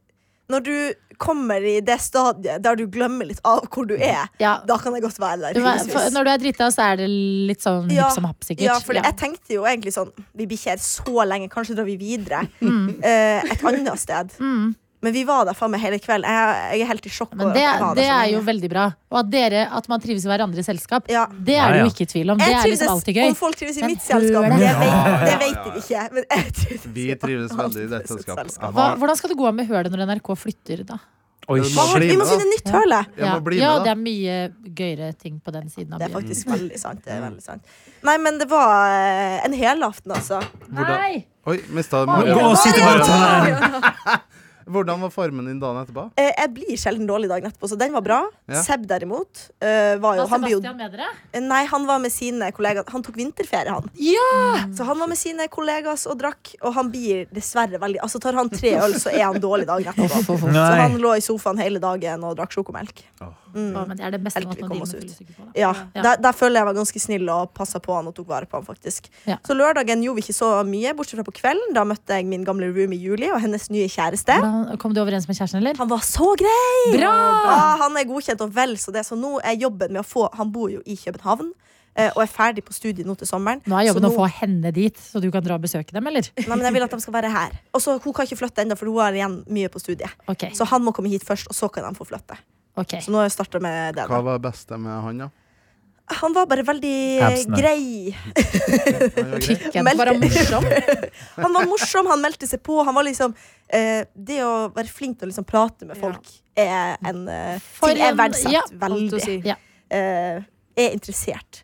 S4: Når du kommer i det stadiet der du glemmer litt av hvor du er,
S2: Ja.
S4: da kan jeg godt være der.
S2: Du, vet, for,
S4: timevis.
S2: når du er drita, så er det litt sånn
S4: Ja.
S2: hipp som happ, sikkert.
S4: Ja, for
S2: Ja.
S4: jeg tenkte jo egentlig sånn Vi blir ikke her så lenge, kanskje drar vi videre
S2: Mm.
S4: eh, et annet sted. Men vi var der faen meg hele kvelden. Jeg, jeg er helt i sjokk.
S2: Men
S4: over
S2: det,
S4: at vi var der
S2: det
S4: så
S2: er
S4: lenge.
S2: jo veldig bra. Og at, dere, at man trives i hverandres selskap,
S4: Ja.
S2: det er det
S5: Ja,
S2: jo
S5: ja.
S2: ikke i tvil om. Det
S4: Jeg
S2: er liksom alltid
S4: trivdes,
S2: gøy.
S4: om folk trives i
S2: Men
S4: mitt selskap,
S2: hør
S4: det
S2: det.
S4: vet, det vet jeg ikke. Men jeg trivdes
S6: Vi
S4: i
S6: trives
S4: alt
S6: veldig i dette
S4: sitt
S6: selskapet.
S2: Hva,
S6: Ja.
S2: hvordan skal det gå med hølet når NRK flytter, da?
S5: Oi,
S6: Det
S4: Hva har-
S5: shit.
S4: Vi må
S6: Bli med,
S4: finne nytt høle!
S6: Jeg må bli
S2: ja, det
S6: med, da.
S2: er mye gøyere ting på den siden av
S4: Det er
S2: byen.
S4: faktisk veldig sant. Det er veldig sant. Nei, men det var eh, en helaften, altså.
S6: Hvordan,
S2: Nei!
S6: oi, mista
S5: Gå og sitt i maraton.
S6: Hvordan var formen din dagen etterpå?
S4: Eh, Jeg blir sjelden dårlig dagen etterpå, så den var bra.
S6: Ja.
S4: Seb derimot eh, var jo
S2: Har
S4: han, blir jo,
S2: Sebastian med dere?
S4: Nei, han var med sine kollegaer. Han tok vinterferie, han. Mm.
S2: Ja!
S4: Så han var med sine kollegas og drakk, og han blir dessverre veldig Altså Tar han tre øl, så er han dårlig dagen etterpå. Så
S5: Nei.
S4: han lå i sofaen hele dagen og drakk sjokomelk.
S2: Å, men det er det beste
S4: Helt til
S2: måten å
S4: Mm. vi kom
S2: deale
S4: oss
S2: med
S4: ut.
S2: fyllesyke på. Da.
S4: Ja,
S2: Ja.
S4: Der, der føler jeg var ganske snill og passa på han og tok vare på han, faktisk.
S2: Ja.
S4: Så lørdagen gjorde vi ikke så mye, bortsett fra på kvelden. Da møtte jeg min gamle roomie Julie og hennes nye kjæreste.
S2: Hvordan- Kom du overens med kjæresten, eller?
S4: Han var så grei!
S2: Bra!
S4: Ja, han er godkjent og vel så det, så nå er jobben med å få Han bor jo i København. eh, Og er ferdig på studiet nå til sommeren.
S2: Nå er jobben å
S4: så
S2: få henne dit, så du kan dra og besøke dem, eller?
S4: Nei, men jeg vil at de skal være her. Og så Hun kan ikke flytte ennå, for hun har igjen mye på studiet.
S2: Ok,
S4: Så han må komme hit først, og så kan de få flytte.
S2: ok.
S4: Så nå har jeg startet med det.
S6: Hva
S4: da.
S6: var det beste med han, da?
S4: Han var bare veldig eh,
S5: Abstinent.
S4: grei.
S6: Han var grei.
S2: Pikken.
S4: Meldte-
S3: Var han morsom?
S4: [LAUGHS] han var morsom, han meldte seg på. Han var liksom, eh, det å være flink til å liksom prate med folk er en eh,
S2: For
S4: ting jeg
S2: en-
S4: verdsetter
S2: ja,
S3: holdt å
S4: veldig.
S3: si.
S2: Ja.
S4: Eh, er interessert.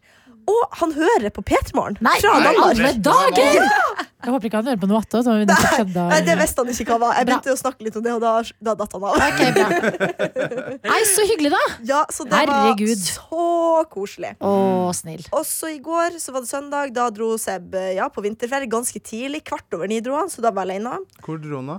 S4: Og han hører på P3morgen
S2: Nei,
S4: fra Danmark.
S2: alle dager! Jeg håper ikke han hører på noe attåt. så vi nettopp kødda.
S4: Nei, det visste han ikke hva var.
S2: Bra.
S4: Jeg begynte å snakke litt om det, og da, da datt han av.
S2: Ok, bra. Nei, så hyggelig, da!
S4: Ja, så det
S2: Herregud.
S4: var så koselig.
S2: Å, snill.
S4: Også i går så var det søndag. Da dro Seb eh, ja, på vinterferie ganske tidlig. Kvart over ni dro han, så da var jeg alene.
S6: Hvor dro han, da?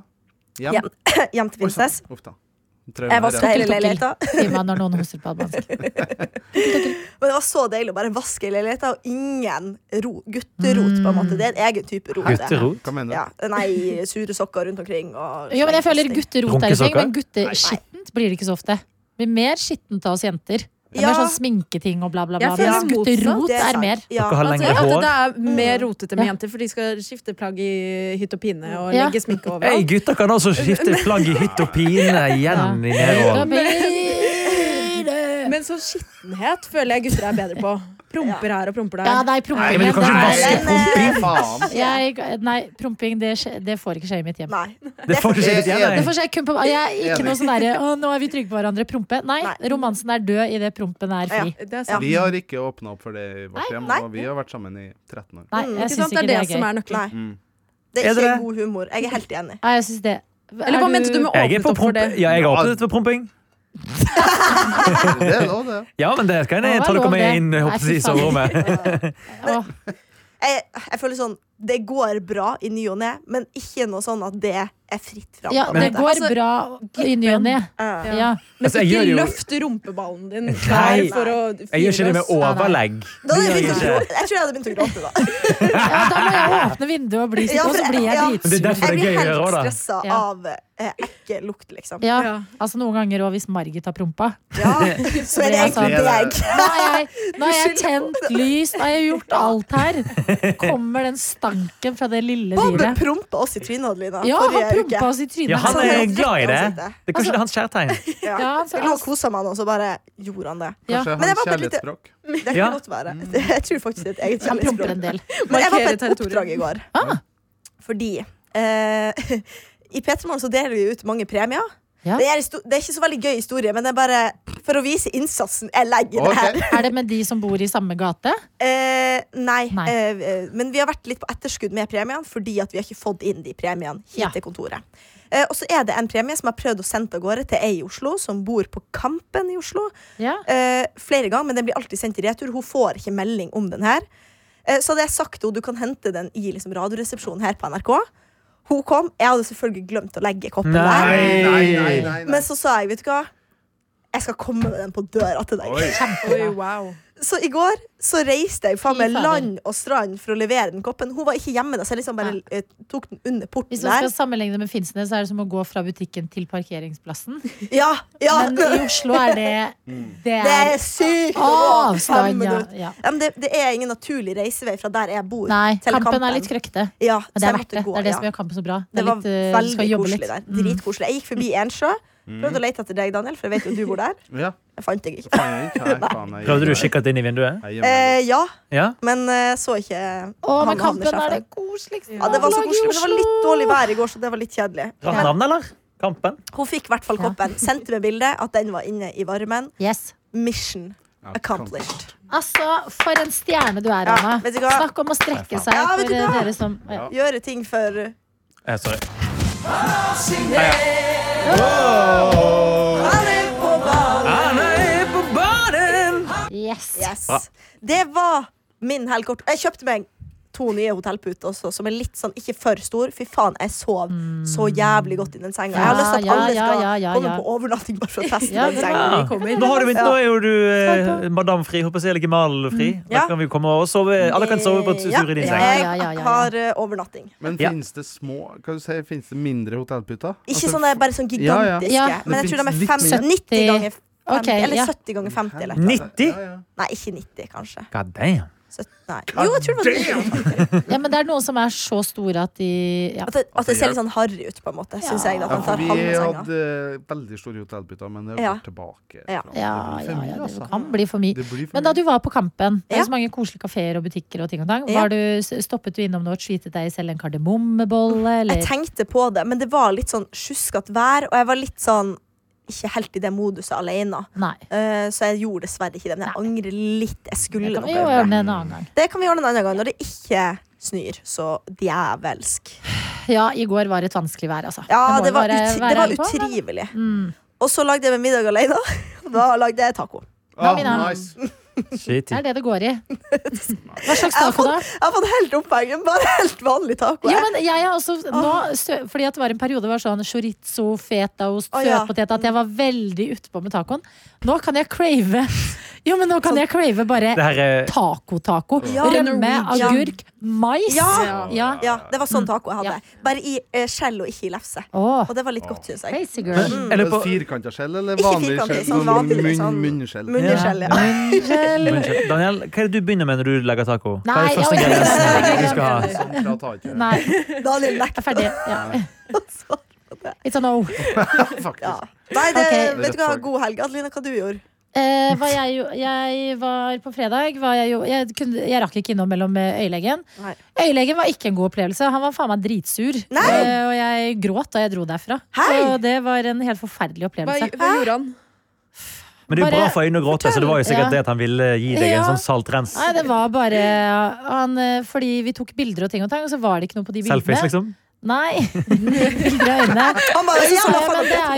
S6: Hjem?
S4: Hjem, hjem til
S6: Oi, sant.
S4: Finnsnes.
S6: Uff da.
S4: Jeg
S6: Traumer,
S4: vaska
S6: ja.
S4: hele
S2: Tukkel, tukkel.
S4: leiligheta.
S2: Si meg når noen hoster på albansk.
S4: Men det var så deilig å bare vaske hele leiligheta, og ingen ro, gutterot. på en måte Det er en egen type rot. det.
S5: Gutterot?
S6: Hva mener du?
S4: Ja, nei, sure sokker rundt omkring. Og
S2: Jo, men jeg føler gutterot er en ting,
S5: Runkesokker?
S2: men gutteskittent blir det ikke så ofte. Det blir mer skittent av oss jenter. Det er
S4: Ja.
S2: Mer sånn sminketing og bla, bla, bla.
S3: Jeg føler
S2: Mens gutterot
S4: Det
S2: er
S4: sant.
S2: mer.
S4: Ja.
S5: Dere har
S3: Altså,
S5: lengre
S3: at det
S5: hår?
S3: er mer rotete med
S2: Mm. Ja.
S3: jenter, for de skal skifte plagg i hytt og pine og
S2: Ja.
S3: legge sminke over.
S5: Hey, gutter kan også skifte plagg i hytt og pine igjen
S2: Da
S5: i nedover.
S2: blir det
S3: Men sånn skittenhet føler jeg gutter er bedre på. Promper her og promper der.
S2: Ja, nei, eh,
S5: Nei,
S2: promping.
S5: men du kan ikke
S2: det
S5: vaske
S2: er-
S5: promping!
S6: Faen.
S2: Jeg, nei, promping, det, skje- det får ikke skje i mitt hjem.
S4: Nei.
S5: Det får ikke skje igjen,
S2: Det
S5: nei.
S2: får skje kun på Jeg er ikke
S6: Enig.
S2: noe sånn derre Å, nå er vi trygge på hverandre. Prompe. Nei,
S4: Nei.
S2: romansen er død idet prompen er fri.
S3: Det er sant.
S6: Vi har ikke åpna opp for det i vårt hjem,
S4: nei.
S6: og vi har vært sammen i
S4: [LAUGHS]
S6: 13 år.
S2: Nei,
S4: Mm,
S2: jeg
S3: Ikke
S2: syns
S3: sant?
S2: ikke
S3: Det er
S2: det
S3: det
S2: er gøy.
S3: som er nøkkelen.
S4: Nei. Det er
S5: Er
S4: ikke
S5: dere-
S4: god humor. Jeg er helt enig.
S2: Nei, jeg synes det. Er
S3: Eller hva mente du med
S5: Jeg er
S3: åpnet
S5: på
S3: opp for
S5: promp.
S3: det?
S5: Ja, jeg har åpnet for promping.
S6: Det er lov,
S4: [LAUGHS]
S6: det.
S5: Ja, men det kan
S2: Å,
S5: jeg
S2: hva
S5: ta
S2: lov
S5: dere med
S2: det.
S5: inn jeg håper å
S2: Nei,
S5: si,
S2: fy faen.
S5: soverommet.
S2: Åh,
S4: Jeg, jeg føler sånn det går bra i ny og ne, men ikke noe sånn at det er fritt fram.
S2: Ja,
S4: på en
S2: det
S4: måte.
S2: går
S3: Altså,
S2: bra i ny og ne.
S4: Ja.
S2: Ja.
S3: Men
S5: Altså, jeg
S3: ikke
S5: gjør jo-
S3: løft rumpeballen din klar for å
S5: Jeg gjør ikke det med
S2: Nei, nei.
S5: overlegg.
S4: Da hadde jeg,
S5: Det
S4: begynt å
S5: gjør jeg
S4: gråte. jeg tror jeg hadde begynt å gråte da.
S2: ja, da må jeg åpne vinduet og bli
S4: Ja,
S2: sittende, og så
S4: for-
S2: blir jeg
S4: ja.
S5: Men det er
S2: dritsur.
S5: derfor-
S4: Jeg blir
S5: gøy å
S4: helt
S5: gjøre, da.
S4: stressa
S2: Ja.
S4: av eh, ekkel lukt, liksom.
S2: Ja,
S3: Ja.
S2: altså Noen ganger òg hvis Margit har prompa.
S4: [LAUGHS] Ja, så er det
S2: Det er
S4: egentlig
S6: sant.
S4: deg.
S2: Nå har jeg, nå har jeg tent lys, nå har jeg gjort alt her. Kommer den stanken fra det lille
S4: Bob
S2: dyret.
S4: prompa oss i trynet, Adelina,
S2: Ja, han
S4: forrige uke.
S2: prompa oss i
S5: Ja, han
S2: trynet.
S5: er
S4: Sånn,
S5: glad i det.
S4: ansiktet.
S5: Det er kanskje det er hans kjærtegn.
S4: Ja.
S2: Ja, altså,
S4: Vi lå og kosa med han, og så bare gjorde han det.
S2: Ja.
S6: Kanskje
S4: Men jeg
S6: hans
S4: var på et lite- [LAUGHS]
S6: kjærlighetsspråk.
S4: Det kan
S5: Ja.
S4: godt være. Jeg tror faktisk det er et eget
S2: Han
S4: kjærlighetsspråk.
S2: promper en del.
S4: Men jeg var på et
S3: Markere
S4: oppdrag i går.
S2: Ah.
S4: Fordi eh, [LAUGHS] i P3 Morgen så deler vi ut mange premier.
S2: Ja.
S4: Det, er, histo- det er ikke så veldig gøy historie, men det er bare for å vise innsatsen jeg legger i det her.
S6: Ok.
S2: Er det med de som bor i samme gate?
S4: Eh, nei,
S2: Nei.
S4: eh, eh, men vi har vært litt på etterskudd med premiene fordi at vi har ikke fått inn de premiene hit
S2: Ja.
S4: til kontoret. Eh, og så er det en premie som jeg har prøvd å sende av gårde til ei i Oslo som bor på Kampen i Oslo.
S2: Ja.
S4: eh, flere ganger, men den blir alltid sendt i retur. Hun får ikke melding om den her. Eh, så hadde jeg sagt til henne du kan hente den i liksom, radioresepsjonen her på NRK. Hun kom. Jeg hadde selvfølgelig glemt å legge koppen
S5: Nei.
S4: der.
S6: Nei, nei, nei, nei.
S4: Men så sa jeg, vet du hva, jeg skal komme med den på døra til deg.
S6: Oi.
S3: Oi, wow.
S4: Så i går så reiste jeg faen meg
S2: Fy fader.
S4: land og strand for å levere den koppen. Hun var ikke hjemme, da, så jeg liksom bare
S2: Nei.
S4: eh, tok den under porten
S2: Hvis man skal
S4: der.
S2: sammenligne det med Finnsnes, så er det som å gå fra butikken til parkeringsplassen.
S4: Ja, ja.
S2: Men i Oslo er det
S5: Mm.
S2: Det
S4: [LAUGHS] Det er
S2: er
S4: sykt! å gå fem
S2: avstand, ja.
S4: minutter.
S2: ja.
S4: Ja, men det, det er ingen naturlig reisevei fra der jeg bor.
S2: Nei,
S4: til
S2: kampen er litt krøkkete.
S4: Ja,
S2: Men
S4: så
S2: det
S4: jeg
S2: er verdt
S4: måtte
S2: det.
S4: gå,
S2: Det er det
S4: ja.
S2: som gjør kampen så bra. Det
S4: Det
S2: er
S4: var
S2: litt, eh, du skal
S4: veldig
S2: jobbe
S4: koselig
S2: litt. Mm.
S4: der. Dritkoselig. Jeg gikk forbi Ensjø. Prøvde å lete etter deg, Daniel, for jeg vet jo du bor der.
S6: Ja.
S4: Jeg fant
S2: [LAUGHS]
S4: deg ikke.
S6: Faen, jeg gikk her, faen, jeg
S5: Prøvde du å
S6: gikk her.
S5: kikke inn i vinduet?
S6: Jeg gjemmer meg.
S4: Eh, ja,
S5: Ja?
S4: men eh, så ikke
S2: Å,
S4: han
S2: men kampen
S4: havnesjefen.
S2: er det koseligste
S4: Ja, det var så
S2: laget i
S4: koselig, men det var litt
S2: Oslo.
S4: dårlig vær i går, så det var litt kjedelig.
S5: Rart navn, eller? Kampen?
S4: Hun fikk i hvert fall
S2: Ja.
S4: koppen. Sendte meg bilde at den var inne i varmen.
S2: Yes.
S4: Mission
S6: Ja,
S4: accomplished.
S2: Altså, for en stjerne du er,
S4: Ja,
S2: Anna.
S4: vet du hva?
S2: Snakk om å strekke seg
S4: Ja,
S2: for
S4: vet du
S2: eh,
S4: hva?
S2: dere som ja.
S4: Gjøre ting for
S5: Eh, sorry.
S2: Yes.
S4: Yes.
S5: Bra.
S4: Det var min helg kort. Jeg kjøpte meg to nye hotellputer også, som er litt sånn ikke for stor. Fy faen, jeg sov så jævlig godt i den senga. Jeg har
S2: Mm. Ja,
S4: lyst til at
S2: ja,
S4: alle
S2: ja,
S4: skal
S2: ja, ja,
S4: komme
S2: ja.
S4: på overnatting bare for å teste
S2: Ja,
S4: den
S2: det
S4: senga.
S5: Ja. Nå, har du, nå er jo du eh, madamfri, håper jeg, eller gemalfri. Da
S4: Ja.
S5: kan vi komme og sove. Alle kan sove på tur i din
S2: Ja.
S5: seng.
S2: ja, ja, ja.
S4: Jeg har eh, overnatting.
S6: Men
S5: Ja.
S6: finnes det små Hva du si, finnes det mindre hotellputer?
S4: Ikke
S6: Altså,
S4: sånne bare sånn
S6: Ja, ja.
S4: gigantiske,
S2: Ja.
S4: men jeg
S6: Det
S4: tror de er
S6: finnes
S4: fem,
S6: litt
S4: 90 ganger 50,
S2: Ok, ja.
S4: eller 70 ganger 50 eller noe.
S5: 90?
S6: Ja, ja.
S4: Nei, ikke 90, kanskje.
S5: God damn.
S4: 70, nei. Jo, jeg tror det var 90.
S2: Ja, men det er noen som er så store at de ja.
S4: [LAUGHS] At det, at det ser litt sånn harry ut, på en måte, syns jeg. Da,
S6: Ja,
S4: at han
S6: for
S4: tar
S6: vi
S4: halve senga.
S6: hadde eh, veldig store hotellputer, men det
S4: Ja.
S6: går tilbake.
S4: Ja.
S6: fra-
S2: Ja,
S6: det blir
S2: ja,
S6: for mye,
S2: ja, det
S6: altså.
S2: kan bli for mye.
S6: Det blir for
S2: Men da
S6: mye.
S2: du var på Kampen, det er
S4: Ja.
S2: så mange koselige kafeer og butikker og ting og tang.
S4: Ja.
S2: Var du, stoppet du innom noe og treatet deg selv en kardemommebolle,
S4: Jeg
S2: eller?
S4: tenkte på det, men det var litt sånn sjuskete vær, og jeg var litt sånn ikke helt i det moduset alene.
S2: Nei.
S4: Eh, så jeg gjorde dessverre ikke det, men jeg angrer litt. Jeg skulle
S2: Det kan
S4: nok
S2: vi
S4: ha
S2: jo
S4: gjort det.
S2: ordne en annen gang.
S4: Det kan vi gjøre en annen gang, når det ikke snør så djevelsk.
S2: Ja, i går var et vanskelig vær, altså.
S4: Ja,
S2: Jeg må jo
S4: det var,
S2: bare være
S4: ut, det var
S2: ærlig på, men-
S4: utrivelig.
S2: Mm.
S4: Og så lagde jeg meg middag alene. [LAUGHS] Da lagde jeg taco.
S2: Da begynner
S6: Ah,
S2: han.
S6: nice.
S5: Shitty.
S2: Det er det det
S4: [LAUGHS]
S2: går i. Hva slags taco, da?
S4: Jeg har fått helt opphengen. Bare helt vanlig taco.
S2: Ja, men jeg er også nå, sø, Fordi at det var en periode hvor det var sånn chorizo, fetaost,
S4: Å, ja.
S2: søtpotet At jeg var veldig utpå med tacoen. Nå kan jeg crave [LAUGHS] Jo, men nå kan jeg crave bare
S5: Det her er
S2: taco-taco.
S4: Ja.
S2: Rømme,
S3: Norwegian.
S2: agurk, mais.
S4: Ja.
S2: Ja.
S4: ja, det var
S2: Mm.
S4: sånn taco jeg hadde. Bare i eh, skjell og ikke i lefse.
S2: Åh,
S4: Og det var litt godt, syns jeg.
S2: crazy girl.
S5: Jeg lurer på
S6: Firkanta skjell eller
S4: Ikke
S6: vanlig
S4: firkantet,
S6: skjell?
S4: sånn
S6: Sånn
S4: vanlig,
S6: munn,
S4: sånn-
S6: munnskjell.
S4: Munnskjell, ja.
S2: Unnskyld.
S5: Unnskyld. Daniel, hva er det du begynner med når du lager taco? Hva er
S2: Nei,
S5: det første
S2: jeg orker ikke. [LAUGHS]
S5: ingrediensen du skal ha?
S6: Sånn prat har jeg ikke.
S2: Nei,
S4: Daniel
S2: jeg er
S4: nekter
S2: ferdig. Ja.
S4: [LAUGHS] å svare.
S2: It's a no.
S6: Faktisk. [LAUGHS]
S4: Ja. Nei, det,
S2: Ok.
S4: vet du hva, god helg. Adelina, hva du gjorde
S2: Eh, hva jeg, jo- jeg var på fredag var jeg, jo, jeg, kunne, jeg rakk ikke innom mellom eh, øyelegen.
S4: Nei.
S2: Øyelegen var ikke en god opplevelse. Han var faen meg dritsur.
S4: Nei!
S2: Eh, og jeg gråt da jeg dro derfra.
S4: Hei!
S2: Så det var en helt forferdelig
S3: Hva,
S2: opplevelse.
S3: hva gjorde han?
S5: Men det er jo bra
S2: Bare
S5: for øynene å gråte, så det var jo sikkert
S2: fortell.
S5: det at han ville gi deg en
S2: Ja.
S5: sånn saltrens.
S2: Nei, det var bare han, eh, Fordi vi tok bilder og ting og tang, og så var det ikke noe på de bildene.
S5: Selfies, liksom.
S2: Nei. [LAUGHS] bilder av øynene.
S4: Han bare,
S2: Så
S4: ja,
S2: sa jeg,
S4: faen,
S2: men det er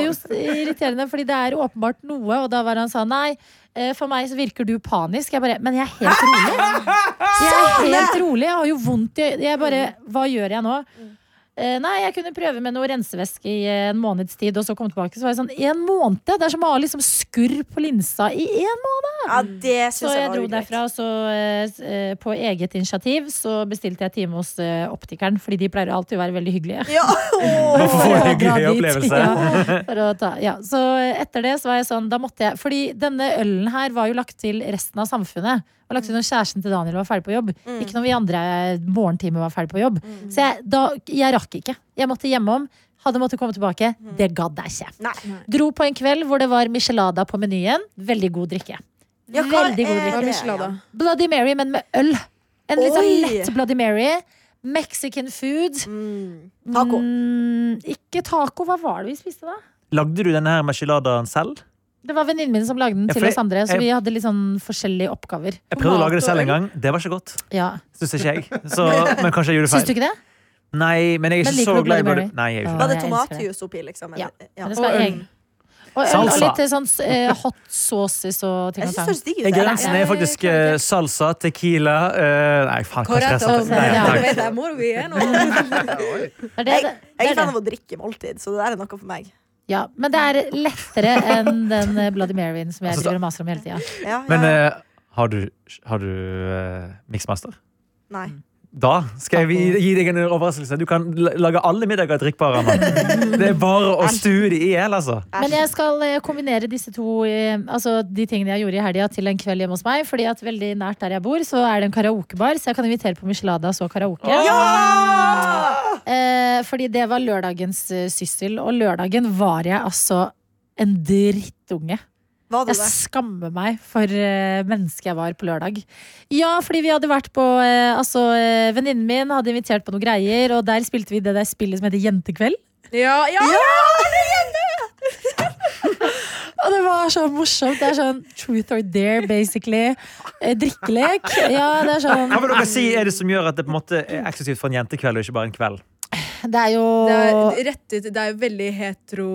S2: jo irriterende, fordi det er åpenbart noe, og da var han sa nei. eh, for meg så virker du panisk. Jeg bare, men jeg er helt [LAUGHS] rolig. Jeg er helt rolig. Jeg har jo vondt i øyet. Jeg bare Hva gjør jeg nå? Eh, nei, jeg kunne prøve med noe rensevæske i eh, en måneds tid, og så komme tilbake. Så var jeg sånn, en måned? Det er som å ha liksom skurr på linsa i en måned.
S4: Ja, det syns
S2: Så jeg
S4: var
S2: dro
S4: ugreit.
S2: derfra, og så eh, s- eh, på eget initiativ så bestilte jeg time hos eh, optikeren, fordi de pleier alltid å være veldig hyggelige.
S4: Ja, åh.
S2: [LAUGHS]
S5: Hvorfor
S2: For
S5: får du en
S2: å dra
S5: gøy
S2: dit.
S5: opplevelse?
S2: Ja, [LAUGHS] for å ta, ja. Så etter det så var jeg sånn, da måtte jeg Fordi denne ølen her var jo lagt til resten av samfunnet. Og lagt til når kjæresten til Daniel var ferdig på jobb.
S4: Mm.
S2: Ikke når vi andre morgentimer var ferdig på jobb. Så jeg, da, jeg rakk ikke. Jeg måtte hjemom. Hadde måttet komme tilbake. Det gadd jeg ikke.
S4: Mm. Nei.
S2: Dro på en kveld hvor det var michelada på menyen. Veldig god drikke.
S4: Ja, hva
S2: Veldig god
S4: er
S2: drikke.
S3: Hva er
S4: det,
S3: Michelada?
S2: Bloody Mary, men med øl. En litt sånn
S4: Oi.
S2: lett Bloody Mary. Mexican food.
S4: Mm. Taco.
S2: Mm, ikke taco. Hva var det vi spiste da?
S5: Lagde du denne her micheladaen selv?
S2: Det var venninnen min som lagde den
S5: Ja,
S2: til
S5: for
S2: oss andre. Så
S5: jeg-
S2: vi hadde litt sånn forskjellige oppgaver.
S5: Jeg prøvde å lage det selv en
S3: Tomat
S5: gang. Det var ikke godt.
S2: Ja.
S5: Syns ikke jeg.
S2: [LAUGHS]
S5: Så, men kanskje jeg gjorde
S2: Syns du
S5: feil.
S2: ikke det?
S5: Nei, men jeg
S2: Men
S5: er ikke
S2: liker
S5: så
S2: du
S5: glad i
S2: Bloody
S5: Bloody
S2: Mary?
S5: Nei, jeg er jo
S4: Var
S5: ikke
S4: det
S2: jeg elsker det.
S4: tomatjuice oppi, liksom?
S2: Ja.
S4: Eller? Ja.
S2: Men det
S4: Jeg
S2: skal
S3: Og
S2: og
S3: øl.
S2: egg. Og, øl, og
S5: Salsa.
S2: litt eh, sånn eh, hot sauces og ting og
S4: syns det
S2: tang.
S4: høres digg ut.
S5: det.
S4: det.
S5: Grensen er faktisk eh, salsa, tequila eh, Nei, faen, hva
S2: Corrado.
S5: stresset Nei,
S2: Ja.
S5: takk.
S3: altså, vet jeg hvor vi er nå.
S6: Oi.
S2: Det er det,
S4: Jeg,
S2: det,
S4: jeg er
S2: det er
S4: fan
S2: det.
S4: av å drikke måltid, så det der er noe for meg.
S2: Ja, men det er lettere enn den eh, Bloody Maryen som jeg
S5: Altså,
S2: driver og maser om hele tida.
S4: Ja, ja,
S5: Men
S4: ja.
S5: eh, har du, har du eh, miksmaster?
S4: Nei.
S5: Da skal jeg gi, gi deg en overraskelse. Du kan la- lage alle middager drikkbare.
S2: [LAUGHS]
S5: Anna. Det er bare å stue de i hjel, altså.
S2: Men jeg skal eh, kombinere disse to eh, Altså de tingene jeg gjorde i helga, til en kveld hjemme hos meg. Fordi at veldig nært der jeg bor, så er det en karaokebar, så jeg kan invitere på micheladas og karaoke. Eh, fordi det var lørdagens eh, syssel, og lørdagen var jeg altså en drittunge.
S4: Var du
S2: Jeg
S4: det?
S2: skammer meg for eh, mennesket jeg var på lørdag. Ja, fordi vi hadde vært på eh, Altså, eh, venninnen min hadde invitert på noen greier, og der spilte vi det der spillet som heter Jentekveld.
S3: Ja, ja.
S2: Og det var så morsomt. Det er sånn truth or dare, basically. Eh, drikkelek. Ja, det er sånn
S5: Hva vil dere si er det som gjør at det på en måte er eksklusivt for en jentekveld og ikke bare en kveld?
S2: Det er jo
S3: Det er rettet, det er jo veldig hetero...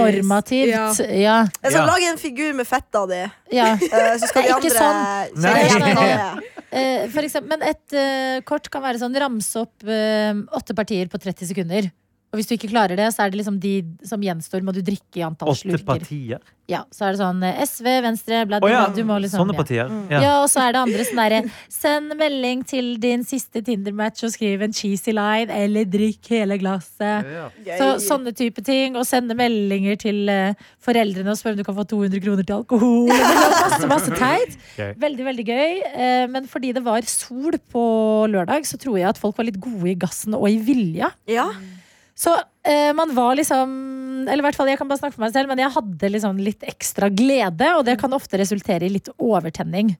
S2: normativt. Ja.
S4: Jeg skal
S5: Ja.
S4: lage en figur med fetta di,
S2: ja.
S4: eh, så skal de
S2: Ikke
S4: andre
S2: sånn.
S4: så skal de
S5: Nei.
S4: andre-
S2: Eh, for eksempel, men et eh, kort kan være sånn ramse opp eh, åtte partier på 30 sekunder. Og hvis du ikke klarer det, så er det liksom de som gjenstår, må du drikke i antall
S5: Åtte
S2: slurker.
S5: partier?
S2: Ja, så er det sånn eh, SV, Venstre, bla,
S5: Å ja,
S2: du må liksom ja.
S5: sånne partier.
S2: Ja.
S5: Ja.
S2: og så er det andre sånn derre Send melding til din siste Tinder-match og skriv en cheesy line, eller drikk hele glasset.
S6: Ja.
S4: Gøy.
S2: Så, sånne type ting. Og sende meldinger til eh, foreldrene og spørre om du kan få 200 kroner til alkohol. Eller masse, masse teit.
S5: Gøy.
S2: Veldig, veldig gøy. Eh, men fordi det var sol på lørdag, så tror jeg at folk var litt gode i gassen og i vilja.
S4: Ja.
S2: Så eh, man var liksom Eller i hvert fall, jeg kan bare snakke for meg selv, men jeg hadde liksom litt ekstra glede, og det kan ofte resultere i litt overtenning.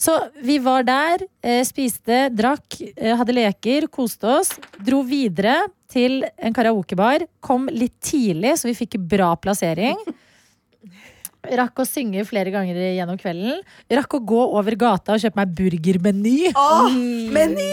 S2: Så vi var der, eh, spiste, drakk, eh, hadde leker, koste oss. Dro videre til en karaokebar. Kom litt tidlig, så vi fikk bra plassering. Rakk å synge flere ganger gjennom kvelden. Rakk å gå over gata og kjøpe meg burgermeny.
S4: Åh,
S2: Mm.
S4: meny!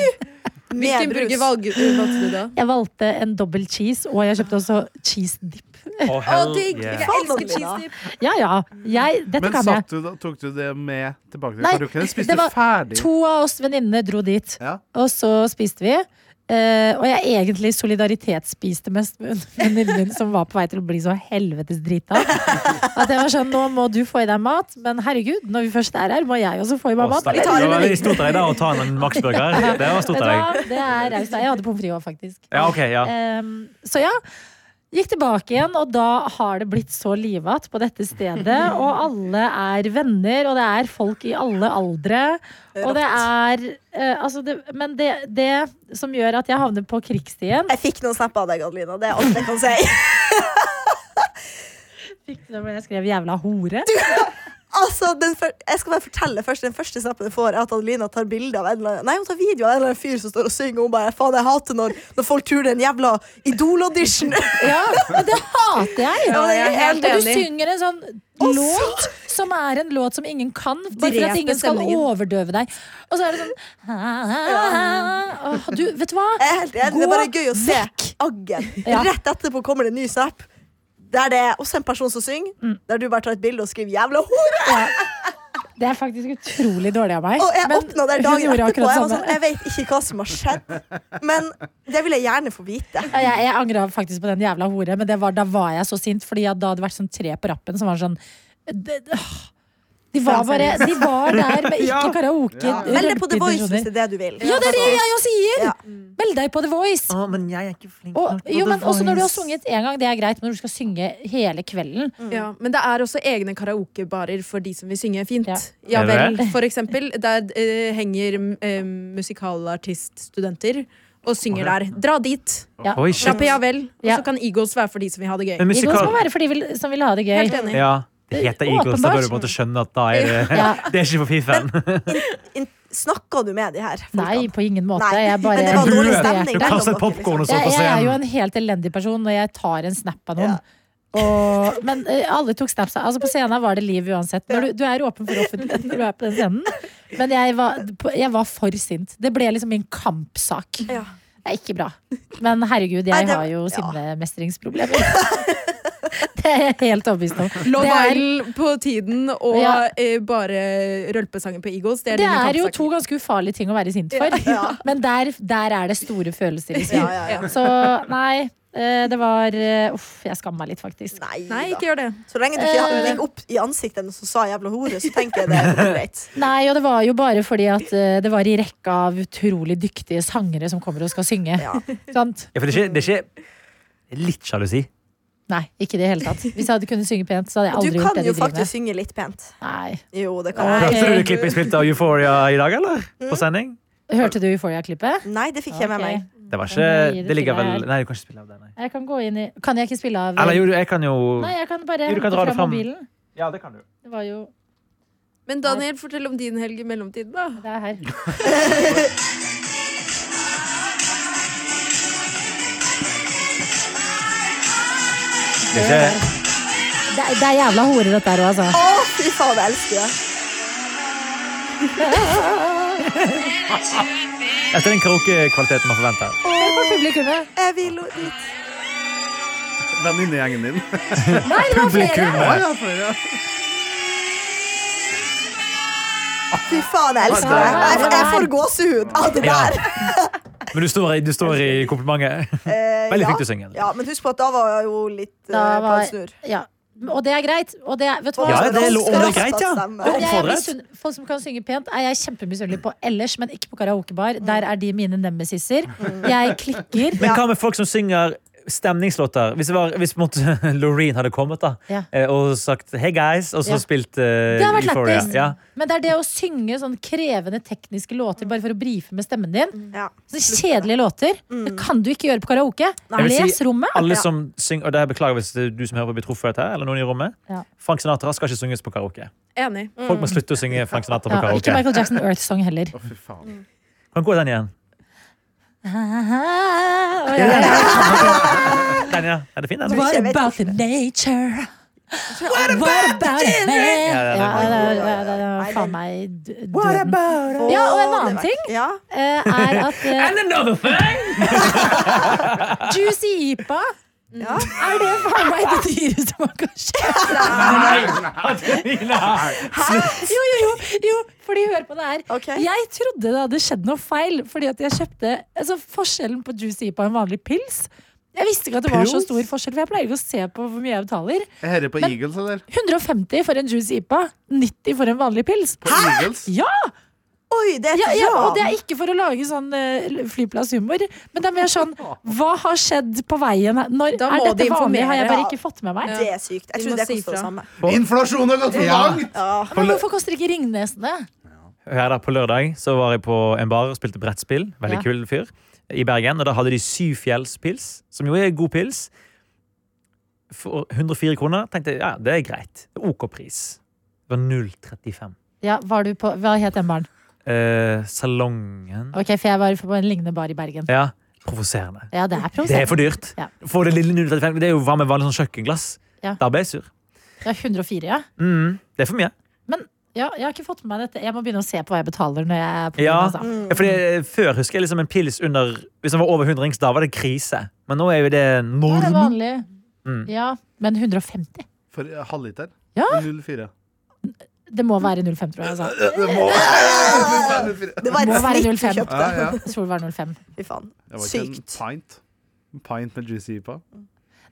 S4: Med
S3: Hvilken
S4: brus.
S3: burger valg- valgte du da?
S2: Jeg eh, valgte en dobbel cheese, og jeg kjøpte også cheese dip.
S5: Å, hell
S3: digg.
S5: yeah.
S3: Jeg
S4: Faen,
S3: elsker
S4: Nina.
S3: cheese dip.
S2: Ja, ja. Jeg, dette
S6: Men
S2: kan jeg.
S6: satt du, da- tok du det med tilbake til
S2: Nei,
S6: karaoken? Spiste
S2: det var
S6: ferdig?
S2: To av oss venninnene dro dit,
S6: Ja.
S2: og så spiste vi. Eh, og jeg egentlig solidaritetsspiste mest med venninnen min, som var på vei til å bli så helvetes drita. At jeg var sånn, nå må du få i deg mat, men herregud, når vi først er her, må jeg også få i meg
S5: Å,
S2: mat.
S5: stakkars.
S2: Eller?
S4: tar
S5: altså. Det
S4: en
S5: var
S4: mening.
S5: veldig stort av deg da å ta en Max-burger. Det var
S2: Vet
S5: stort
S2: du
S5: av deg.
S2: hva? Det er raust av deg. Jeg hadde pommes frites òg, faktisk.
S5: Ja, ok, ja.
S2: Ehm, så ja. Gikk tilbake igjen, og da har det blitt så livat på dette stedet. Og alle er venner, og det er folk i alle aldre. Og det er eh, altså det, Men det, det som gjør at jeg havner på krigsstien
S4: Jeg fikk noen snapper av deg, Adelina. Det er alt jeg kan si. [LAUGHS]
S2: Fikk du det hvor jeg skrev 'jævla hore'?
S4: Altså, den fyr- jeg skal bare fortelle først Den første snappen jeg får, er at Adelina tar bilde av en eller annen Nei, hun tar video av en eller annen fyr som står og synger. Og hun bare faen, jeg hater når, når folk tror det er en jævla Idol-audition.
S2: [LAUGHS] Ja, og det hater jeg!
S3: Ja, jeg er helt
S2: og du
S3: enig.
S2: synger en sånn låt som er en låt som ingen kan, bare for
S3: Dreper
S2: at ingen skal
S3: stemningen.
S2: overdøve deg. Og så er det sånn Åh, du, Vet du hva?
S4: Jeg er helt enig. Det er bare
S2: Gå
S4: gøy å se aggen.
S2: Ja.
S4: Rett etterpå kommer det en ny
S2: Mm.
S4: snap. Der det er også en person som synger, der du bare tar et bilde og skriver 'jævla hore'.
S2: Det er faktisk utrolig dårlig av meg.
S4: Og jeg
S2: men
S4: åpna der
S2: hun
S4: dagen
S2: gjorde
S4: etterpå.
S2: akkurat
S4: Jeg, var
S2: samme.
S4: sånn, jeg vet ikke hva som har skjedd, men det vil jeg gjerne få vite.
S2: Ja, Jeg, jeg angra faktisk på den jævla hore, men det var, da var jeg så sint. Fordi at da hadde det vært sånn tre på rappen som var sånn det- åh. De var bare De var der
S5: [LAUGHS]
S2: med ikke karaoke.
S4: Meld deg på The Voice hvis
S2: rølpeintentioner.
S4: det er det du vil.
S2: Ja, det er det jeg også sier!
S4: Ja.
S2: Meld deg på The Voice.
S5: Å, men jeg er ikke flink
S2: Og,
S5: nok til
S2: jo,
S5: Ah, The
S2: men også når du har
S5: Voice.
S2: sunget én gang, det er greit, men når du skal synge hele kvelden
S3: Ja, men det er også egne karaokebarer for de som vil synge fint.
S2: Ja.
S3: Ja,
S5: Er det
S3: vel, for eksempel. Der eh, henger eh, musikalartiststudenter og synger der. Dra dit!
S2: Ja.
S5: Oi, shit.
S3: Dra på Ja vel. Og
S2: Ja.
S3: så kan Eagles være for de som vil ha det gøy.
S5: En
S2: Eagles
S5: musikal
S2: må være for de vil, som vil ha det gøy.
S3: Helt enig.
S5: Ja, det heter Eagles. Da
S2: Åpenbart.
S5: bør du på en måte skjønne at da er det
S2: Ja.
S5: [LAUGHS] Det er ikke for fiffen.
S4: Altså, In- Snakker du med de her
S2: Nei,
S4: folkene?
S2: på ingen måte.
S4: Nei,
S2: Jeg bare
S4: men det var
S5: Du-
S4: dårlig stemning.
S5: Du
S4: mellom
S5: kastet
S4: dere, liksom.
S5: popcorn og så
S2: jeg,
S5: på
S2: jeg er jo
S5: scenen.
S2: en helt elendig person når jeg tar en snap av noen.
S4: Ja.
S2: Og, men eh, alle tok snaps. Altså På scenen var det liv uansett. Når du, du er åpen for offentligheten [LAUGHS] når du er på den scenen. Men jeg var, på- jeg var for sint. Det ble liksom min kampsak.
S4: Ja.
S2: Det er ikke bra. Men herregud,
S4: Nei,
S2: jeg
S4: det-
S2: har jo
S4: ja.
S2: sinnemestringsproblemer. [LAUGHS] Det er jeg helt overbevist om.
S3: Love
S2: Det er-
S3: Island på tiden og
S2: Ja.
S3: eh, bare rølpesangen på Eagles. Det er,
S2: Det
S3: dine
S2: er jo
S3: kampsaker.
S2: to ganske ufarlige ting å være sint for. [LAUGHS] Men der, der er det store følelser. Liksom.
S4: Ja, ja, ja.
S2: Så nei, eh, det var eh, Uff, jeg skamma litt, faktisk.
S4: Nei,
S3: Nei,
S4: da.
S3: ikke gjør det.
S4: Så lenge du ikke
S2: Eh.
S4: gikk opp i ansiktet og så sa 'jævla hore', så tenker jeg det er greit.
S2: Nei, og det var jo bare fordi at eh, det var i rekka av utrolig dyktige sangere som kommer og skal synge.
S4: Ja.
S2: Sant?
S5: Ja, for det er ikke, det er ikke det er litt sjalusi.
S2: Nei, ikke i det hele tatt. Hvis jeg hadde kunnet synge pent, så hadde jeg
S4: Du
S2: aldri gjort
S4: kan
S2: det
S4: jo
S2: de driver
S4: faktisk
S2: med.
S4: synge litt pent.
S2: Nei.
S4: Jo, det kan
S2: Nei. Mm.
S4: jeg.
S5: Hørte du det klippet jeg spilte av Euphoria i dag, eller? På sending?
S2: Hørte du Euphoria-klippet?
S4: Nei, det fikk jeg med
S2: Ok.
S4: meg.
S5: Det var ikke Det ligger vel Nei, du kan ikke spille av det, nei.
S2: Jeg kan gå inn i Kan jeg ikke spille av
S5: Eller jo, jeg kan jo
S2: Nei, jeg kan bare
S5: Jo, du kan
S2: hente
S5: dra det
S2: fram
S5: fram.
S2: mobilen.
S5: Ja, det kan du.
S2: Det var jo
S3: Men Daniel, fortell om din helg i mellomtiden, da.
S2: Det er her.
S5: Det er ikke
S2: Det er, det er jævla hore, dette her òg, altså.
S4: Å, fy faen, jeg elsker det.
S5: Etter den karaokekvaliteten man forventer.
S2: Hør på publikummet.
S4: Jeg vil jo dit.
S6: Venninnegjengen din.
S2: Nei, det var flere!
S6: [LAUGHS]
S5: eh,
S6: Ja, ja, for, ja.
S4: Fy faen, jeg elsker det. Jeg, jeg får gåsehud av det
S5: Ja.
S4: der.
S5: Men du står i, du står i komplimentet.
S4: Eh,
S5: Veldig
S4: ja.
S5: flink til å synge.
S4: Ja, men husk på at da var jeg jo litt eh,
S2: Da
S4: på
S2: var-
S4: en snur.
S2: Ja. Og det er greit. Og det er, vet du hva?
S5: Ja, det er
S4: Rask-
S5: lov- om det er
S4: rask
S5: greit, ja.
S4: stemme.
S5: Det er
S2: Jeg er
S5: Oppfordret.
S2: misunn- folk som kan synge pent, er jeg kjempemisunnelig på ellers, men ikke på karaokebar. Der er de mine nemesisser. Jeg klikker.
S5: Men hva med folk som synger stemningslåter? Hvis, det var, hvis på en måte [LAUGHS] Loreen hadde kommet da
S2: Ja.
S5: eh, og sagt 'Hey guys', og så
S2: Ja.
S5: spilt eh,
S2: Det har vært
S5: Euphoria.
S2: lættis.
S5: Ja.
S2: Men det er det å synge sånn krevende tekniske låter bare for å brife med stemmen din.
S4: Ja.
S2: Sånne kjedelige låter. Det kan du ikke gjøre på karaoke.
S5: Jeg vil si-
S2: Les rommet.
S5: Alle
S4: Ja.
S5: som synger, og det her beklager hvis det er du som hører på blir truffet av dette, her, eller noen i rommet.
S2: Ja. Mm.
S5: Frank Sinatra skal ikke synges på karaoke.
S3: Enig.
S5: Folk må slutte å synge Frank Sinatra på
S2: Ja, ikke
S5: karaoke.
S2: Michael Jackson Earth Song heller.
S6: Å, fy faen.
S2: Mm.
S5: Kan gå den igjen.
S2: Ah, ja, ja.
S5: Den, ja. Er det fin, den?
S4: Hva?
S2: What
S4: Jeg vet
S2: about the nature? What about it, man?
S5: Ja, det er
S2: Ja,
S5: det.
S2: det er- ja, det
S4: Nei,
S2: er
S4: det-
S2: faen meg d- døden. Ja, og en annen ting
S4: Ja.
S2: eh, er at eh,
S5: [LAUGHS] And another thing!
S2: Juicy Ipa
S4: Ja.
S2: er det faen meg det dyreste man kan kjøpe.
S5: Adelina!
S2: Jo, jo, jo, jo, fordi hør på det her.
S4: Ok.
S2: Jeg trodde det hadde skjedd noe feil, fordi at jeg kjøpte altså, forskjellen på Juicy Ipa og en vanlig pils. Jeg visste ikke at det var så
S6: Pils?
S2: stor forskjell, for jeg pleier ikke å se på hvor mye jeg betaler.
S6: Er dette på Eagles, eller?
S2: 150 for en Juicy Ipa, 90 for en vanlig pils.
S6: På Eagles?
S2: Ja!
S4: Oi, det er
S2: Ja,
S4: et
S2: ja, og
S4: ran.
S2: det er ikke for å lage sånn eh, flyplasshumor, men det er mer sånn Hva har skedd på veien? her? Når
S3: Da
S2: er
S3: må
S2: dette
S3: de
S2: vanlig?
S3: informere,
S2: Har jeg bare
S4: ja.
S2: ikke fått med meg?
S4: Det er sykt. Jeg
S3: Vi
S4: tror
S3: må
S4: det
S3: si
S4: koster det
S3: fra.
S4: samme.
S6: Inflasjon har gått for langt!
S4: Ja.
S2: Men hvorfor koster ikke Ringnesene?
S5: Her da, På lørdag så var jeg på en bar og spilte brettspill. Veldig
S2: Ja.
S5: kul fyr. I Bergen. Og da hadde de Syvfjellspils, som jo er god pils. For 104 kroner tenkte jeg ja, det er greit. Det er OK pris. Det var 0,35.
S2: Ja, var du på, Hva het den baren?
S5: Eh, salongen
S2: Ok, For jeg var på en lignende bar i Bergen.
S5: Ja, provoserende.
S2: Ja, det er
S5: Det er
S2: provoserende.
S5: for dyrt.
S2: Ja.
S5: For det lille 0,35. Det er jo hva med vanlig sånn kjøkkenglass?
S2: Ja.
S5: Da ble jeg sur.
S2: Det er 104, ja.
S5: Mm, det er for mye.
S2: ja. Jeg har ikke fått med meg dette. Jeg må begynne å se på hva jeg betaler når jeg er på
S5: Ja.
S2: byen, altså.
S5: Ja, Fordi eh, Før husker jeg liksom en pils under Hvis den var over 100 rings, da var det krise. Men nå er jo det
S2: Ja, det er
S5: normen.
S2: vanlig.
S5: Mm.
S2: Ja, men 150?
S6: For eh, halvliter?
S2: Ja.
S6: 0,4.
S2: Det må være 05, tror jeg. Altså.
S6: Det må Det
S4: Det var
S2: Må
S4: et
S2: være
S4: snitt du
S2: 05.
S6: [LAUGHS] Ja,
S4: kjøpte.
S6: ja.
S2: Jeg tror det var 05.
S4: Fy faen.
S6: var ikke en
S4: Sykt.
S6: pint. En pint med juicy på.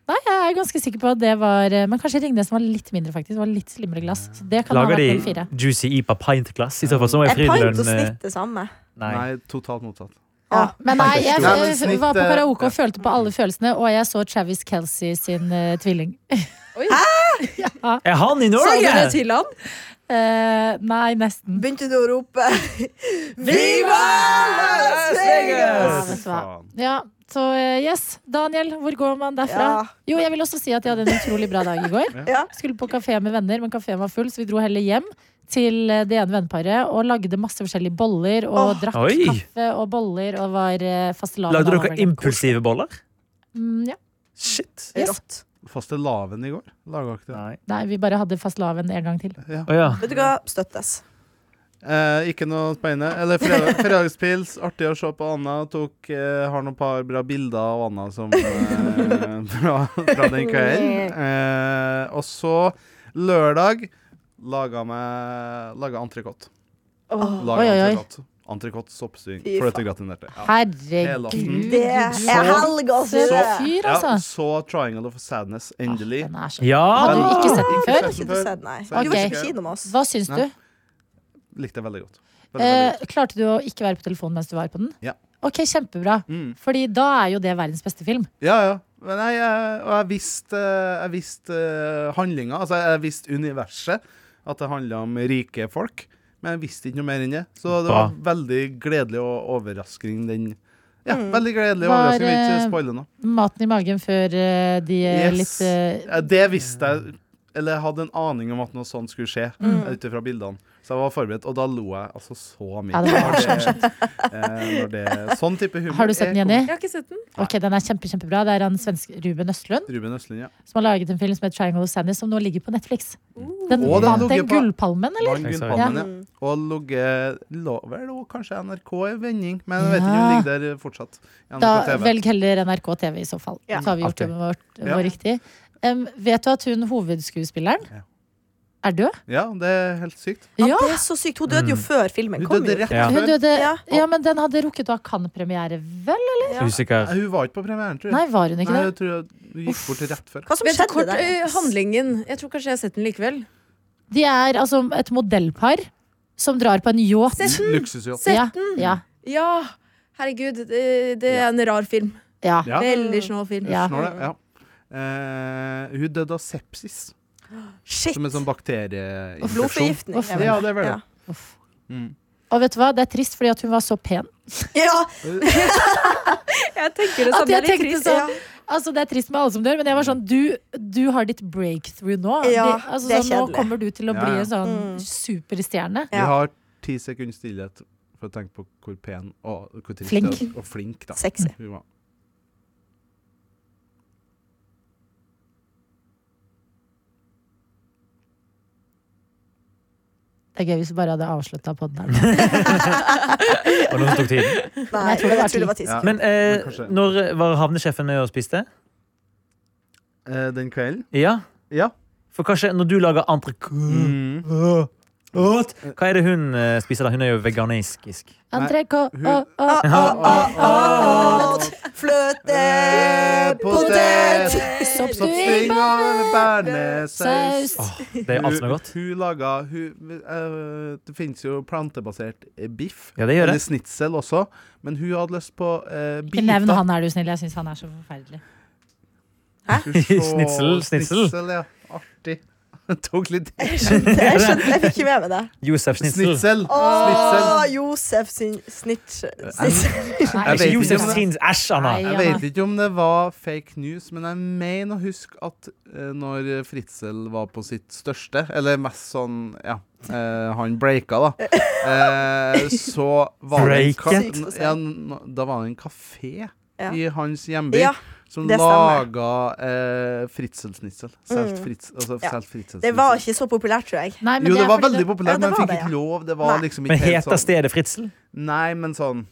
S2: Nei, jeg er ganske sikker på at det var eh, Men kanskje Ringnes var litt mindre, faktisk. Det var litt slimmere glass. Så det kan
S5: Lager
S2: ha
S5: de
S2: vært 04.
S5: juicy ipa pint-glass? I så fall så må
S4: Er
S5: jeg
S4: pint og
S5: frilønn eh,
S4: snitt det samme?
S5: Nei.
S6: Nei, totalt motsatt.
S2: Ja. Men nei, jeg
S6: Nei, men
S2: eh,
S6: snitt,
S2: var på
S6: eh,
S2: karaoke og følte på alle følelsene, og jeg så Travis Kelsey sin eh, tvilling.
S5: Er han i
S3: Sa du det
S5: Norge?!
S3: til han?
S2: Eh, nei, nesten.
S4: Begynte du å rope [LAUGHS]
S5: Viva
S2: Ja,
S4: Las Vegas!
S2: vet du hva. Ja, så eh, yes. Daniel, hvor går man derfra?
S4: Ja.
S2: Jo, jeg vil også si at jeg hadde en utrolig bra dag i går.
S4: Ja.
S2: Skulle på kafé med venner, men kafeen var full, så vi dro heller hjem til eh, det ene venneparet og lagde masse forskjellige boller og
S4: Åh.
S2: drakk
S5: Oi.
S2: kaffe og boller og var eh, fastelavn.
S5: Lagde
S2: da,
S5: dere
S2: var det.
S5: impulsive boller?
S2: Mm, ja.
S5: Shit.
S2: Yes.
S4: Rått.
S6: Fastelavn i går? Laga ikke det.
S5: Nei.
S2: Nei, vi bare hadde fastelavn en gang til.
S6: Ja.
S5: Å ja.
S4: Vet du hva? Støttes.
S6: Eh, ikke noe spennende. Eller fredag, fredagspils. Artig å se på Anna. Tok, eh, har noen par bra bilder av Anna som, eh, fra, fra den kvelden. Eh, og så lørdag laga meg Laga entrecôte. Laga
S2: Oi, oi, oi.
S6: entrecôte. Entrecôte, soppsving,
S4: Fy faen.
S6: fløtegratinerte. Ja. Hele aften.
S2: Herregud.
S4: Det er helg,
S2: Så
S4: altså!
S2: fyr,
S6: Ja,
S2: altså. Ah,
S6: så 'Triangle of Sadness', endelig.
S2: Den er så
S5: ja.
S2: Har du ikke sett den
S6: Ikke
S2: før?
S6: sett
S4: Ikke du sett, nei. Du
S6: Ok.
S4: var ikke på kino med oss.
S2: Hva syns
S6: Nei.
S2: du?
S6: Likte jeg veldig godt. Veldig, veldig
S2: Eh,
S6: godt.
S2: klarte du å ikke være på telefonen mens du var på den?
S6: Ja.
S2: Ok, kjempebra.
S6: Mm.
S2: Fordi da er jo det verdens beste film.
S6: Ja, ja. Men jeg, jeg, og jeg visste, jeg visste eh, handlinga, altså jeg visste universet. At det handla om rike folk. Men jeg visste ikke noe mer enn det. Så det var veldig gledelig og overraskende den Ja, veldig gledelig
S2: Mm.
S6: og
S2: Var,
S6: overraskende. Jeg Vil
S2: eh,
S6: ikke spoile noe.
S2: Maten i magen før eh, de eh,
S6: Yes.
S2: litt eh,
S6: Ja, Det visste jeg. Eller jeg hadde en aning om at noe sånt skulle skje,
S4: Mm.
S6: utifra ut ifra bildene. Så jeg var forberedt, og da lo jeg altså så mye.
S2: Ja, det var
S6: når, det, eh, når det Sånn type humor.
S2: Har du sett den,
S6: er
S2: Jenny?
S3: Jeg har ikke sett den.
S2: Ok, Den er kjempe, kjempebra. Det er han svenske Ruben Østlund
S6: komik. Ruben Østlund, ja.
S2: som har laget en film som heter 'Triangle of Sadness', som nå ligger på Netflix.
S4: Uh.
S2: Den
S6: Å, den
S2: vant
S6: ligger
S2: den
S6: på-
S2: gullpalmen, eller?
S6: Vant
S5: Jeg sa
S6: gullpalmen,
S4: det.
S6: ja. Og ligget lå vel og kanskje NRK i vending, men jeg vet ikke om
S2: Ja.
S6: den ligger der fortsatt. i NRK
S2: Da
S6: TV.
S2: velg heller NRK TV i så fall.
S4: Ja.
S2: Så har vi gjort
S5: Alltid.
S2: jobben vår, vår
S6: Ja.
S2: riktig. Em, vet du at hun hovedskuespilleren
S6: Ja.
S2: er død?
S6: Ja, det er helt sykt.
S4: Ja, det er så sykt. Hun døde jo før filmen
S6: Mm. Hun
S4: kom.
S6: døde
S4: jo.
S6: rett
S5: Ja.
S2: Hun
S6: før.
S2: døde,
S4: Ja.
S2: ja, men den hadde rukket å ha Cannes-premiere, vel?
S4: Ja.
S5: Usikker.
S6: Hun var ikke på premieren, tror
S2: Nei,
S6: jeg.
S2: var hun ikke
S6: Nei,
S2: det?
S6: jeg tror hun gikk bort rett før.
S4: Hva som
S3: Vent
S4: skjedde
S3: kort,
S4: der?
S3: eh, handlingen. Jeg tror kanskje jeg har sett den likevel.
S2: De er altså et modellpar som drar på en yacht.
S6: Luksusyacht.
S2: Ja,
S3: Sett den!
S2: ja,
S3: Ja! Herregud, det, det er en rar film.
S2: ja.
S6: Ja.
S3: Veldig snål film.
S2: Ja.
S6: Snår det, ja. Eh, hun døde av sepsis,
S4: Shit!
S6: som en sånn bakterieinfeksjon.
S4: Blodforgiftning.
S2: Uff.
S4: er vel-
S6: Ja, det er vel det.
S2: Uff. [LAUGHS]
S6: Mm.
S2: Og vet du hva, det er trist fordi at hun var så pen.
S4: Ja,
S3: Jeg tenker det
S2: At jeg
S3: samme. Jeg er litt
S2: tenkte
S3: trist.
S2: sånn Altså Det er trist med alle som dør, men jeg var sånn Du, du har ditt breakthrough nå.
S4: Ja,
S2: De- altså,
S4: det er
S2: sånn, nå
S4: kjedelig.
S2: kommer du til å
S6: Ja,
S2: bli
S6: ja.
S2: en sånn
S4: Mm.
S2: superstjerne.
S6: Vi
S4: Ja.
S6: har ti sekunder stillhet for å tenke på hvor pen og hvor trist
S2: Flink.
S6: det er, og flink da.
S4: sexy.
S6: Hun var.
S2: Det er gøy hvis vi bare hadde avslutta på den
S6: [LAUGHS]
S2: her.
S5: Og noen tok tiden.
S4: Nei,
S2: Jeg tror det var
S4: ti
S6: Ja.
S4: sekunder.
S5: Men eh,
S6: kanskje-
S5: når var havnesjefen med og spiste?
S6: Eh, den kvelden?
S5: Ja?
S6: Ja.
S5: For kanskje når du lager
S6: Mm.
S5: entrecôte Hva er det hun eh, spiser da? Hun er jo veganistisk.
S2: Antrekk og
S6: hun-
S2: og- og-
S4: Ah, ah, ah, ah, ah. Fløte Potet!
S2: Sopp du i
S6: Soppsving og bearnéssaus.
S2: saus.
S5: Det er alt som er godt.
S6: Hun, hun laga hun, eh, Det finnes jo plantebasert eh, biff.
S5: Ja, det gjør det.
S6: Eller snitsel også. Men hun hadde lyst på uh,
S2: Ikke nevn han er du snill. Jeg syns han er så forferdelig.
S5: Snitsel, snitsel.
S6: snitsel ja. Artig. [LAUGHS] Tok litt
S4: Jeg skjønte, jeg skjønte, jeg fikk ikke med meg det.
S5: Josef Schnitzel.
S6: Snitsel.
S4: Å,
S6: Snitsel.
S4: Josef sin snitch snitch-
S2: Nei,
S6: Jeg vet
S5: Ikke
S6: ikke
S5: Josef
S6: om det-
S5: Schnitzel. Æsj, Anna.
S2: Nei.
S6: Jeg
S2: Janne.
S6: vet ikke om det var fake news, men jeg mener å huske at eh, når Fritzel var på sitt største, eller mest sånn Ja, eh, han breaka, da. Eh, så var det en ka-
S5: Breaket?
S6: n- ja, n- Da var det en kafé
S4: Ja.
S6: i hans hjemby
S4: Ja,
S6: som
S4: det stemmer. Mm.
S6: laga eh, Fritzelsnitzel. Selt fritz, altså
S4: Ja.
S6: selt fritzelsnitzel.
S4: det var ikke så populært, tror jeg.
S2: Nei, men
S6: jo, det
S2: er
S6: var
S2: fordi
S6: veldig
S4: Ja,
S6: populært,
S4: det
S6: men
S4: var
S6: fikk
S4: det, ja.
S6: ikke lov. Det var
S4: Nei.
S6: liksom
S5: Men
S6: ikke helt
S5: heter
S6: sånn.
S5: stedet Fritzel?
S6: Nei, men sånn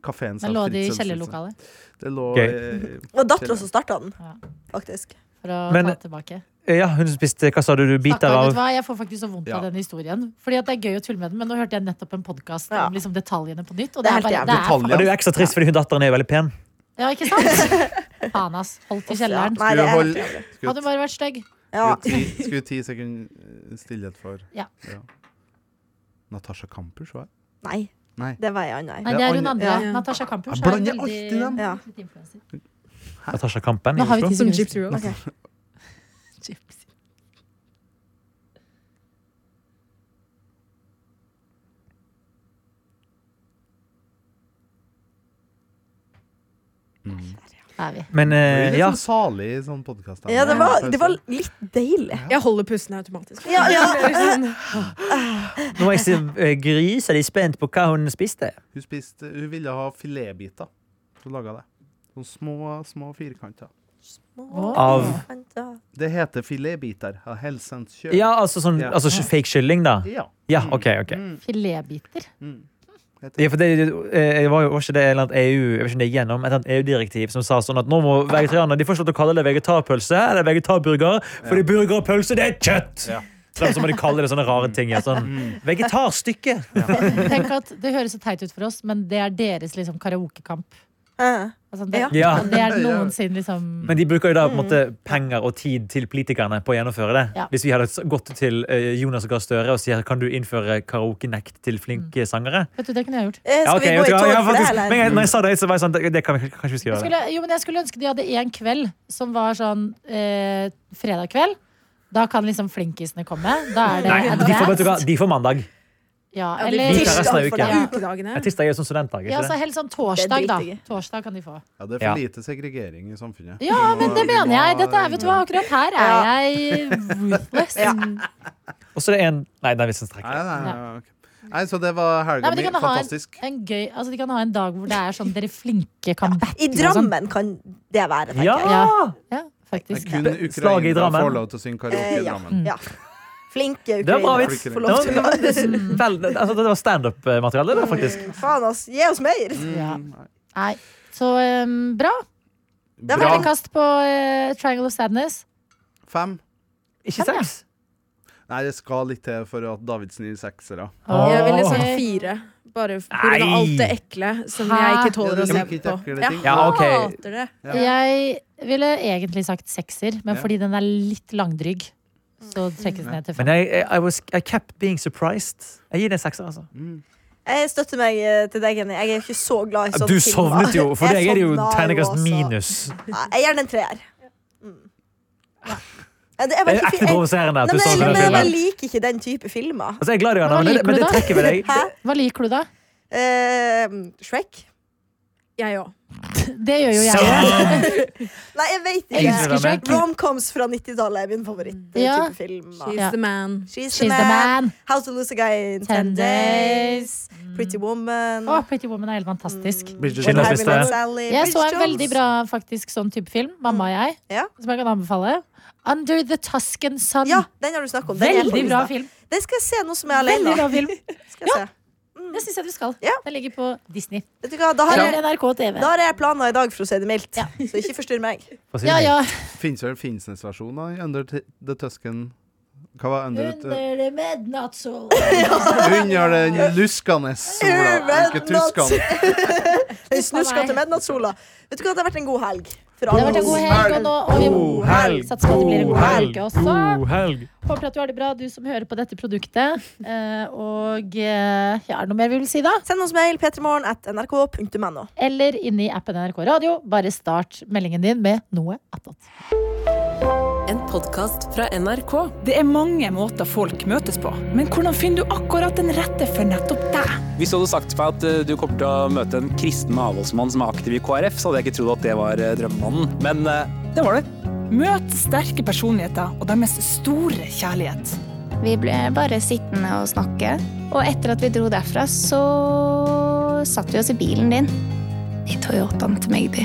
S6: Kafeen
S2: Den lå det i kjellerlokalet
S6: Det lå
S5: Gøy.
S6: eh,
S4: Det var dattera som starta den,
S2: Ja.
S4: faktisk.
S2: for å
S5: Men-
S2: ta det tilbake.
S5: Ja, hun spiste Hva sa du? du biter
S2: Stakkar, vet du
S5: av
S2: hva? Jeg får faktisk så vondt
S6: Ja.
S2: av denne historien. Fordi at det er gøy å tulle med den, men nå hørte jeg nettopp en podkast
S4: Ja.
S2: om liksom detaljene på nytt. Og
S4: Det
S2: det
S4: er
S2: er bare,
S4: helt
S2: det
S4: jævlig.
S2: er
S5: Og
S2: faen,
S5: det er jo ekstra trist, fordi hun datteren er jo veldig pen.
S2: ja, ikke sant? Faen, ass. Holdt i kjelleren.
S4: Nei, det
S6: Skulle
S4: er helt
S6: holde
S4: jævlig.
S2: Hadde
S6: skulle-
S2: bare vært stygg.
S4: Ja.
S6: skulle ti- Skulle ti sekunder eh, stillhet for
S2: Ja.
S6: Natasha Kampusch, hva er det?
S4: Nei,
S6: Nei.
S4: det var ei anna.
S2: Nei, det er hun
S6: andre-
S2: andre.
S3: ja.
S2: Natasha Kampusch.
S6: Jeg
S2: er en
S6: blander alltid dem.
S4: Ja.
S2: litt influencer.
S5: Natasha Kampen. i
S2: Nå har vi
S5: Oslo.
S2: tid.
S3: Som Gypsy Rose.
S4: Ok.
S3: Gypsy.
S2: Der er vi.
S5: Men
S6: Det blir
S5: eh,
S6: litt
S5: ja,
S6: sånn salig sånn podkast.
S4: Ja, det var, det var litt deilig.
S3: Jeg holder pusten automatisk.
S4: Ja, ja.
S3: Det er sånn-
S5: nå er jeg så eh, gris, er de spent på hva hun spiste.
S6: Hun, spiste, hun ville ha filetbiter. Så hun laga det. Sånne små, små firkanter.
S5: Av-
S6: Det heter filetbiter. Av Helsens kjøp.
S5: Ja, altså sånn
S6: Ja.
S5: altså, fake kylling, da.
S6: Ja. Mm.
S5: Ja, OK. ok
S2: Filetbiter.
S5: ja, for det, eh, det var jo var ikke det et eller annet EU Jeg vet ikke om det er gjennom, et eller annet EU-direktiv som sa sånn at nå må vegetarianere De får ikke lov til å kalle det vegetarpølse eller vegetarburger, fordi burger og pølse, det er kjøtt!
S6: Ja.
S5: Så må de kalle det sånne rare ting. ja, Sånn, vegetarstykke!
S2: Tenk at Det høres så teit ut for oss, men det er deres liksom, karaokekamp.
S4: Eh,
S2: Altså, det,
S5: Ja.
S2: det er noensinne liksom
S5: Men de bruker jo da på en måte penger og tid til politikerne på å gjennomføre det.
S2: Ja.
S5: Hvis vi hadde gått til eh, Jonas Gahr Støre og sier kan du innføre karaokenekt til flinke sangere?
S2: Vet du, det kunne jeg gjort.
S4: eh, Mm. Skal
S5: Ja, ok,
S4: vi gå i
S5: vet du hva,
S4: tog
S5: ja,
S4: for det,
S5: faktisk, men
S4: eller?
S5: jeg- Når jeg sa det, så var jeg sånn Det, det kan vi kanskje vi skal
S2: Jeg
S5: gjøre.
S2: skulle, jo, men jeg skulle ønske de hadde én kveld som var sånn eh, fredag kveld. Da kan liksom flinkisene komme. Da er det
S5: Nei, de får, vet du hva,
S2: advanced.
S5: de får mandag.
S2: Ja,
S3: Ja, de-
S2: eller
S5: Vi tar resten av
S4: Tirsdag for
S5: uken.
S2: Ja.
S3: Ukedagene.
S5: Ja, Tirsdag er jo sånn studentdag.
S2: ja,
S5: ikke
S2: så
S5: det?
S2: helst sånn torsdag,
S4: Det
S2: da.
S4: driter jeg i.
S2: Torsdag kan de få.
S6: Ja, det er for
S5: Ja.
S6: lite segregering i samfunnet.
S2: Ja, men det mener jeg. Dette er, vet du hva, akkurat her er
S4: Ja.
S2: jeg ruthless.
S4: Ja.
S5: Og så er det en Nei, den vitsen strekker.
S6: Nei, nei, nei, ok. nei, så det var helga
S2: Nei, men de
S6: mi.
S2: kan ha en,
S6: Fantastisk.
S2: en gøy Altså, de kan ha en dag hvor det er sånn dere flinke
S6: [LAUGHS]
S2: kan battle
S4: I
S2: og sånn.
S4: Drammen kan det være, tenker
S5: Ja!
S4: jeg.
S2: Ja,
S6: Det er
S2: faktisk.
S6: kun
S5: Slaget i
S6: ukrainere
S5: Drammen.
S6: får lov til å synge karaoke
S4: Eh,
S6: i
S4: ja.
S6: Drammen.
S4: Ja. Flinke
S5: Det var bra
S4: ukrainere
S5: vits.
S4: får
S5: Det
S4: lov til å
S5: var, vel, altså, det var standup-materiale, det, faktisk.
S4: Faen, ass. Gi oss mer!
S5: Mm.
S2: Ja. Nei. Så um, bra.
S4: Det var
S6: Bra.
S4: det
S2: Kast på eh, Triangle of Sadness.
S6: Fem.
S5: Ikke seks.
S6: Nei, det skal litt til for at Davidsen gir seksere.
S3: Jeg ville
S5: Åh.
S3: sagt fire. Bare pga.
S5: Nei.
S3: alt det ekle som
S2: Hæ?
S3: jeg ikke tåler å
S6: Ja, du
S3: se
S6: liker ikke
S3: på.
S6: ekle
S3: Jeg
S6: ting.
S5: Ja, ok.
S3: hater det.
S6: Ja.
S2: Jeg ville egentlig sagt sekser, men
S6: Ja.
S2: fordi den er litt langdrygg, så trekkes den ned til
S5: Men
S2: fem.
S5: jeg, jeg, I, was, I kept being surprised. Jeg gir det en sekser, altså.
S4: Jeg støtter meg eh, til deg, Jenny. Jeg er ikke så glad i sånne
S5: Du
S4: filmer.
S5: sovnet jo. For
S4: Jeg altså.
S5: deg er det jo
S4: sovna
S5: terningkast
S4: sånn også.
S5: minus.
S4: Nei, Jeg gir den en treer. Mm. Ja, Det er
S5: Det
S4: veldig
S5: er
S4: fi-
S5: ekte
S4: jeg-
S5: provoserende
S4: Nei,
S5: at du
S4: men jeg,
S5: sovner
S4: men
S5: den
S4: jeg
S5: filmen.
S4: liker ikke den type filmer.
S5: Altså, jeg er glad i
S2: Hva
S5: Anna, men, det-
S2: liker
S5: men
S2: du
S5: det
S2: da?
S5: trekker ved deg.
S4: Hæ?
S2: Hva liker du, da? [LAUGHS]
S4: Eh, Shrek?
S3: Jeg òg.
S2: Det gjør jo jeg.
S5: Sånn.
S4: Nei, jeg vet
S2: Jeg
S4: ikke.
S2: elsker Shrek.
S4: Romcoms fra 90-tallet er min favoritt.
S2: Ja.
S4: Type film.
S3: She's
S2: Ja.
S3: the man.
S4: She's,
S2: She's the man.
S4: How to lose a guy in
S2: Ten
S4: ten
S2: days.
S4: days. Pretty woman.
S2: Å, Pretty Woman er helt fantastisk.
S5: Bridget
S4: When
S5: Schindlers
S4: Harry
S5: liste.
S4: Met Sally.
S2: Jeg
S4: Bridget
S2: så en
S4: Jones.
S2: veldig bra faktisk sånn type film, mamma og jeg,
S4: Mm. Ja.
S2: som jeg kan anbefale. Under the Tuscan Sun.
S4: Ja, den har du snakket om. Den er på
S2: Veldig
S4: lista.
S2: bra film.
S4: Den skal jeg se nå som jeg er
S2: Veldig
S4: alene.
S2: bra
S4: [LAUGHS]
S2: film.
S4: Skal jeg se.
S2: Det syns jeg du skal.
S4: Ja.
S2: Den ligger på Disney.
S4: Vet du hva, da har,
S2: Eller
S4: jeg,
S2: NRK TV.
S4: da har jeg planer i dag, for å si det mildt. Så ikke forstyrr meg.
S5: Få si
S2: Ja,
S5: det.
S2: ja.
S6: Fins det en Finnsnes-versjon av Under t- the Tusken? Hva var Under, under.
S2: Under the midnight
S4: [LAUGHS]
S2: soul.
S6: under den luskende sola,
S4: Under
S6: ikke
S4: natt-
S6: tuskene.
S4: Den Snuska til midnattssola. Vet du hva, det har vært en god helg. For
S2: Det har vært en god helg, og nå og vi
S5: God helg.
S2: satser på at det blir en god helg også.
S5: God helg.
S2: Håper at du har det bra, du som hører på dette produktet. Eh, og eh, ja, er det noe mer vi vil si, da?
S4: Send oss mail p3morgen.nrk.no.
S2: Eller inne i appen NRK Radio. Bare start meldingen din med noe attåt.
S7: En podkast fra NRK.
S8: Det er mange måter folk møtes på, men hvordan finner du akkurat den rette for nettopp deg?
S9: Hvis du hadde sagt til meg at eh, du kommer til å møte en kristen avholdsmann som er aktiv i KrF, så hadde jeg ikke trodd at det var eh, drømmemannen. Men eh, det var det.
S8: Møt sterke personligheter og deres store kjærlighet.
S10: Vi ble bare sittende og snakke. Og etter at vi dro derfra, så satt vi oss i bilen din. I Toyotaen til meg, de.